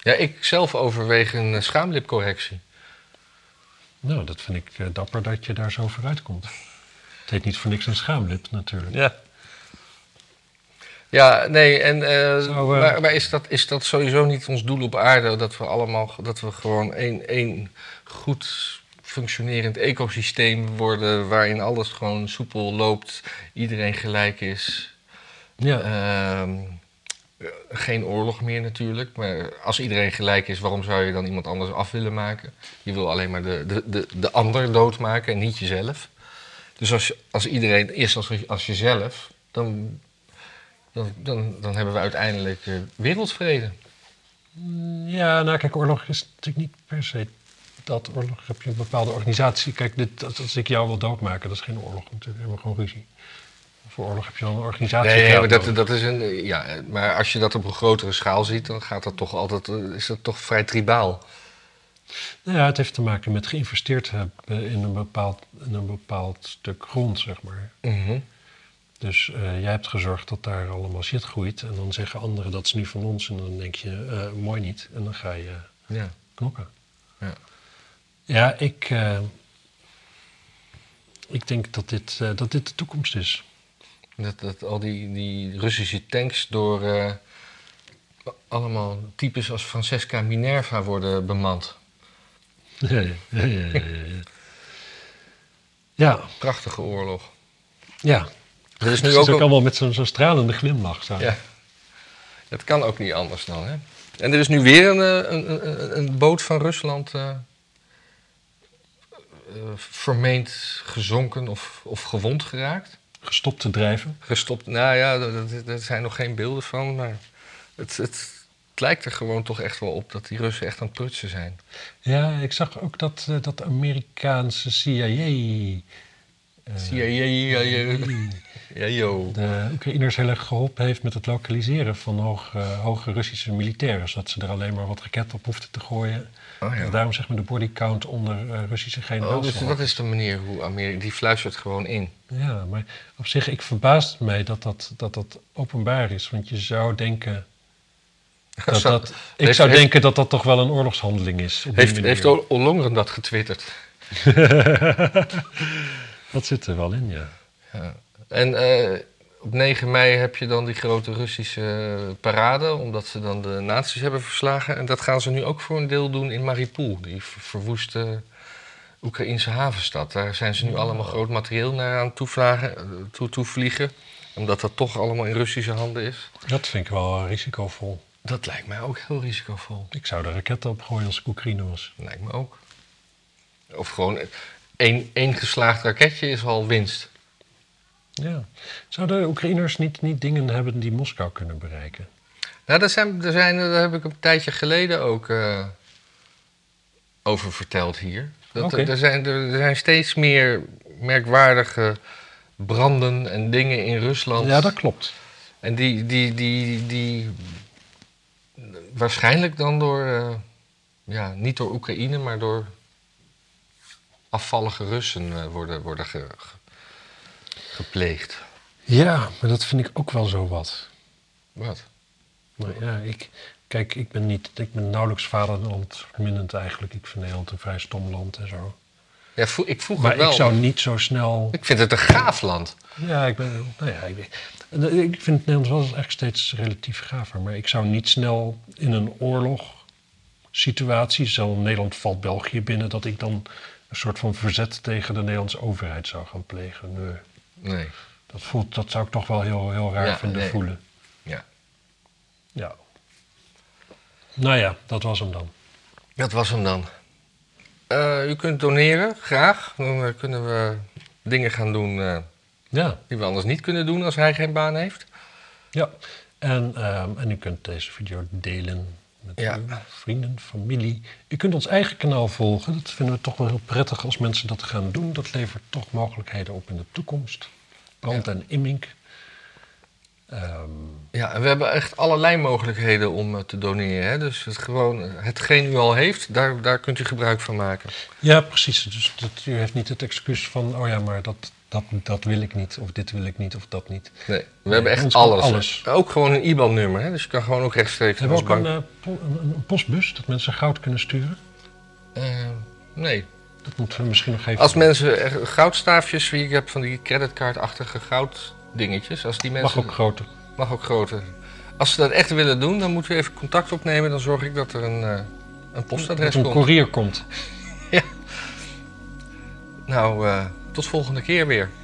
Speaker 2: ja, ik zelf overweeg een eh, schaamlipcorrectie.
Speaker 1: nou, dat vind ik eh, dapper dat je daar zo vooruit komt. Het heet niet voor niks een schaamlip natuurlijk.
Speaker 2: Ja. Ja, nee, en eh,
Speaker 1: Zou, eh,
Speaker 2: maar, maar is, dat, is dat sowieso niet ons doel op aarde? Dat we allemaal, dat we gewoon één, één goed functionerend ecosysteem worden waarin alles gewoon soepel loopt, iedereen gelijk is.
Speaker 1: Ja.
Speaker 2: Ehm, eh, geen oorlog meer natuurlijk, maar als iedereen gelijk is, waarom zou je dan iemand anders af willen maken? Je wil alleen maar de, de, de, de ander doodmaken en niet jezelf. Dus als, je- als iedereen is als, als jezelf, dan, dan, dan, dan hebben we uiteindelijk eh, wereldvrede.
Speaker 1: Ja, nou kijk, oorlog is natuurlijk niet per se dat. Oorlog heb je een bepaalde organisatie. Kijk, dit, als, als ik jou wil doodmaken, dat is geen oorlog natuurlijk. We hebben gewoon ruzie. Voor oorlog heb je dan een organisatie.
Speaker 2: Nee,
Speaker 1: die jou
Speaker 2: maar, dat,
Speaker 1: dood-
Speaker 2: dat is een, eh, ja, eh, maar als je dat op een grotere schaal ziet, dan gaat dat toch altijd, eh, is dat toch vrij tribaal.
Speaker 1: Nou ja, het heeft te maken met geïnvesteerd hebben in een bepaald, in een bepaald stuk grond, zeg maar. Dus eh, jij hebt gezorgd dat daar allemaal shit groeit. En dan zeggen anderen dat is nu van ons. En dan denk je, eh, mooi niet. En dan ga je
Speaker 2: Ja.
Speaker 1: knokken.
Speaker 2: Ja.
Speaker 1: Ja, ik, eh, ik denk dat dit, eh, dat dit de toekomst is.
Speaker 2: Dat, dat al die, die Russische tanks door eh, allemaal types als Francesca Minerva worden bemand.
Speaker 1: ja, ja, ja, ja, ja. ja,
Speaker 2: Prachtige oorlog.
Speaker 1: ja.
Speaker 2: Dat is
Speaker 1: Het
Speaker 2: nu
Speaker 1: is
Speaker 2: ook,
Speaker 1: Dus ook,
Speaker 2: al-
Speaker 1: allemaal met zo'n zo'n stralende glimlach. Zo.
Speaker 2: Ja. Dat kan ook niet anders dan, hè? En er is nu weer een, eh, een, een, een boot van Rusland eh, eh, vermeend gezonken of, of gewond geraakt.
Speaker 1: Gestopt te drijven.
Speaker 2: Gestopt, nou ja, daar- daar zijn nog geen beelden van, maar het, het, het lijkt er gewoon toch echt wel op dat die Russen echt aan het prutsen zijn.
Speaker 1: Ja, ik zag ook dat, eh, dat Amerikaanse CIA... eh,
Speaker 2: Ja, ja, ja, ja. Ja, joh.
Speaker 1: de Oekraïners heel erg geholpen heeft met het lokaliseren van hoog, eh, hoge Russische militairen. Zodat ze er alleen maar wat raketten op hoefden te gooien.
Speaker 2: Oh,
Speaker 1: En
Speaker 2: ja.
Speaker 1: Daarom zeg maar de bodycount onder eh, Russische
Speaker 2: Oh,
Speaker 1: generaals.
Speaker 2: dus dat is de manier hoe Amerika... Die fluistert gewoon in.
Speaker 1: Ja, maar op zich, ik verbaast mij dat dat, dat dat openbaar is. Want je zou denken. Dat
Speaker 2: Zo-
Speaker 1: dat, ik
Speaker 2: heeft-
Speaker 1: zou
Speaker 2: heeft-
Speaker 1: denken dat dat toch wel een oorlogshandeling is. Op die
Speaker 2: Heeft,
Speaker 1: manier.
Speaker 2: heeft Ol- Ollongren dat getwitterd?
Speaker 1: Dat zit er wel in, ja.
Speaker 2: Ja. En eh, op 9 mei heb je dan die grote Russische parade... omdat ze dan de nazi's hebben verslagen. En dat gaan ze nu ook voor een deel doen in Mariupol. Die ver- verwoeste Oekraïnse havenstad. Daar zijn ze nu allemaal groot materieel naar aan toevlagen, toe, toevliegen. Omdat dat toch allemaal in Russische handen is.
Speaker 1: Dat vind ik wel risicovol.
Speaker 2: Dat lijkt mij ook heel risicovol.
Speaker 1: Ik zou de raketten opgooien als ik Oekraïne was.
Speaker 2: Lijkt me ook. Of gewoon één, één geslaagd raketje is al winst.
Speaker 1: Ja. Zouden Oekraïners niet, niet dingen hebben die Moskou kunnen bereiken?
Speaker 2: Nou, daar, zijn, daar, zijn, daar heb ik een tijdje geleden ook eh, over verteld hier. Dat,
Speaker 1: Oké.
Speaker 2: er, zijn, er, er zijn steeds meer merkwaardige branden en dingen in Rusland.
Speaker 1: Ja, dat klopt.
Speaker 2: En die, die, die, die, waarschijnlijk dan door, eh, ja, niet door Oekraïne, maar door afvallige Russen eh, worden, worden ge- ge- gepleegd.
Speaker 1: Ja, maar dat vind ik ook wel zo wat.
Speaker 2: Wat?
Speaker 1: Nou ja, ik, kijk, ik ben, niet, ik ben nauwelijks vaderlandvermindend eigenlijk. Ik vind Nederland een vrij stom land en zo.
Speaker 2: Ja, vro- ik vroeg
Speaker 1: Maar
Speaker 2: het wel.
Speaker 1: ik zou niet zo snel...
Speaker 2: Ik vind het een gaaf land.
Speaker 1: Ja, ik ben... Nou ja, ik, ben- ik vind het Nederlands wel eigenlijk steeds relatief gaver. Maar ik zou niet snel in een oorlog situatie... Stel, Nederland valt België binnen... dat ik dan een soort van verzet tegen de Nederlandse overheid zou gaan plegen. Nee,
Speaker 2: Nee.
Speaker 1: dat, voelt, dat zou ik toch wel heel, heel raar
Speaker 2: Ja,
Speaker 1: vinden
Speaker 2: nee.
Speaker 1: voelen.
Speaker 2: Ja.
Speaker 1: Ja. Nou ja, dat was hem dan.
Speaker 2: Dat was hem dan. Eh, u kunt doneren, graag. Dan eh, kunnen we dingen gaan doen eh,
Speaker 1: Ja.
Speaker 2: die we anders niet kunnen doen als hij geen baan heeft.
Speaker 1: Ja, en, ehm, en u kunt deze video delen met
Speaker 2: Ja.
Speaker 1: uw vrienden, familie. U kunt ons eigen kanaal volgen. Dat vinden we toch wel heel prettig als mensen dat gaan doen. Dat levert toch mogelijkheden op in de toekomst. Brand en Immink. Ehm,
Speaker 2: Ja, en we hebben echt allerlei mogelijkheden om eh, te doneren. Hè? Dus het gewoon, eh, hetgeen u al heeft, daar, daar kunt u gebruik van maken.
Speaker 1: Ja, precies. Dus dat, u heeft niet het excuus van, oh ja, maar dat, dat, dat wil ik niet, of dit wil ik niet, of dat niet.
Speaker 2: Nee, we
Speaker 1: Nee,
Speaker 2: hebben echt
Speaker 1: ons kan
Speaker 2: alles.
Speaker 1: alles.
Speaker 2: Ook gewoon een IBAN-nummer. hè, Dus je kan gewoon ook rechtstreeks
Speaker 1: Hebben we
Speaker 2: naar
Speaker 1: ook
Speaker 2: ons
Speaker 1: een, eh, po- een, een postbus dat mensen goud kunnen sturen?
Speaker 2: bank. Eh, nee.
Speaker 1: Dat moeten we misschien nog even.
Speaker 2: Als mensen er- goudstaafjes, ik heb van die creditcardachtige gouddingetjes. Als die
Speaker 1: Mag
Speaker 2: mensen,
Speaker 1: ook groter.
Speaker 2: mag ook groter. Als ze dat echt willen doen, dan moet u even contact opnemen. Dan zorg ik dat er een, eh, een postadres
Speaker 1: Dat een
Speaker 2: komt.
Speaker 1: courier komt.
Speaker 2: Nou, eh, tot volgende keer weer.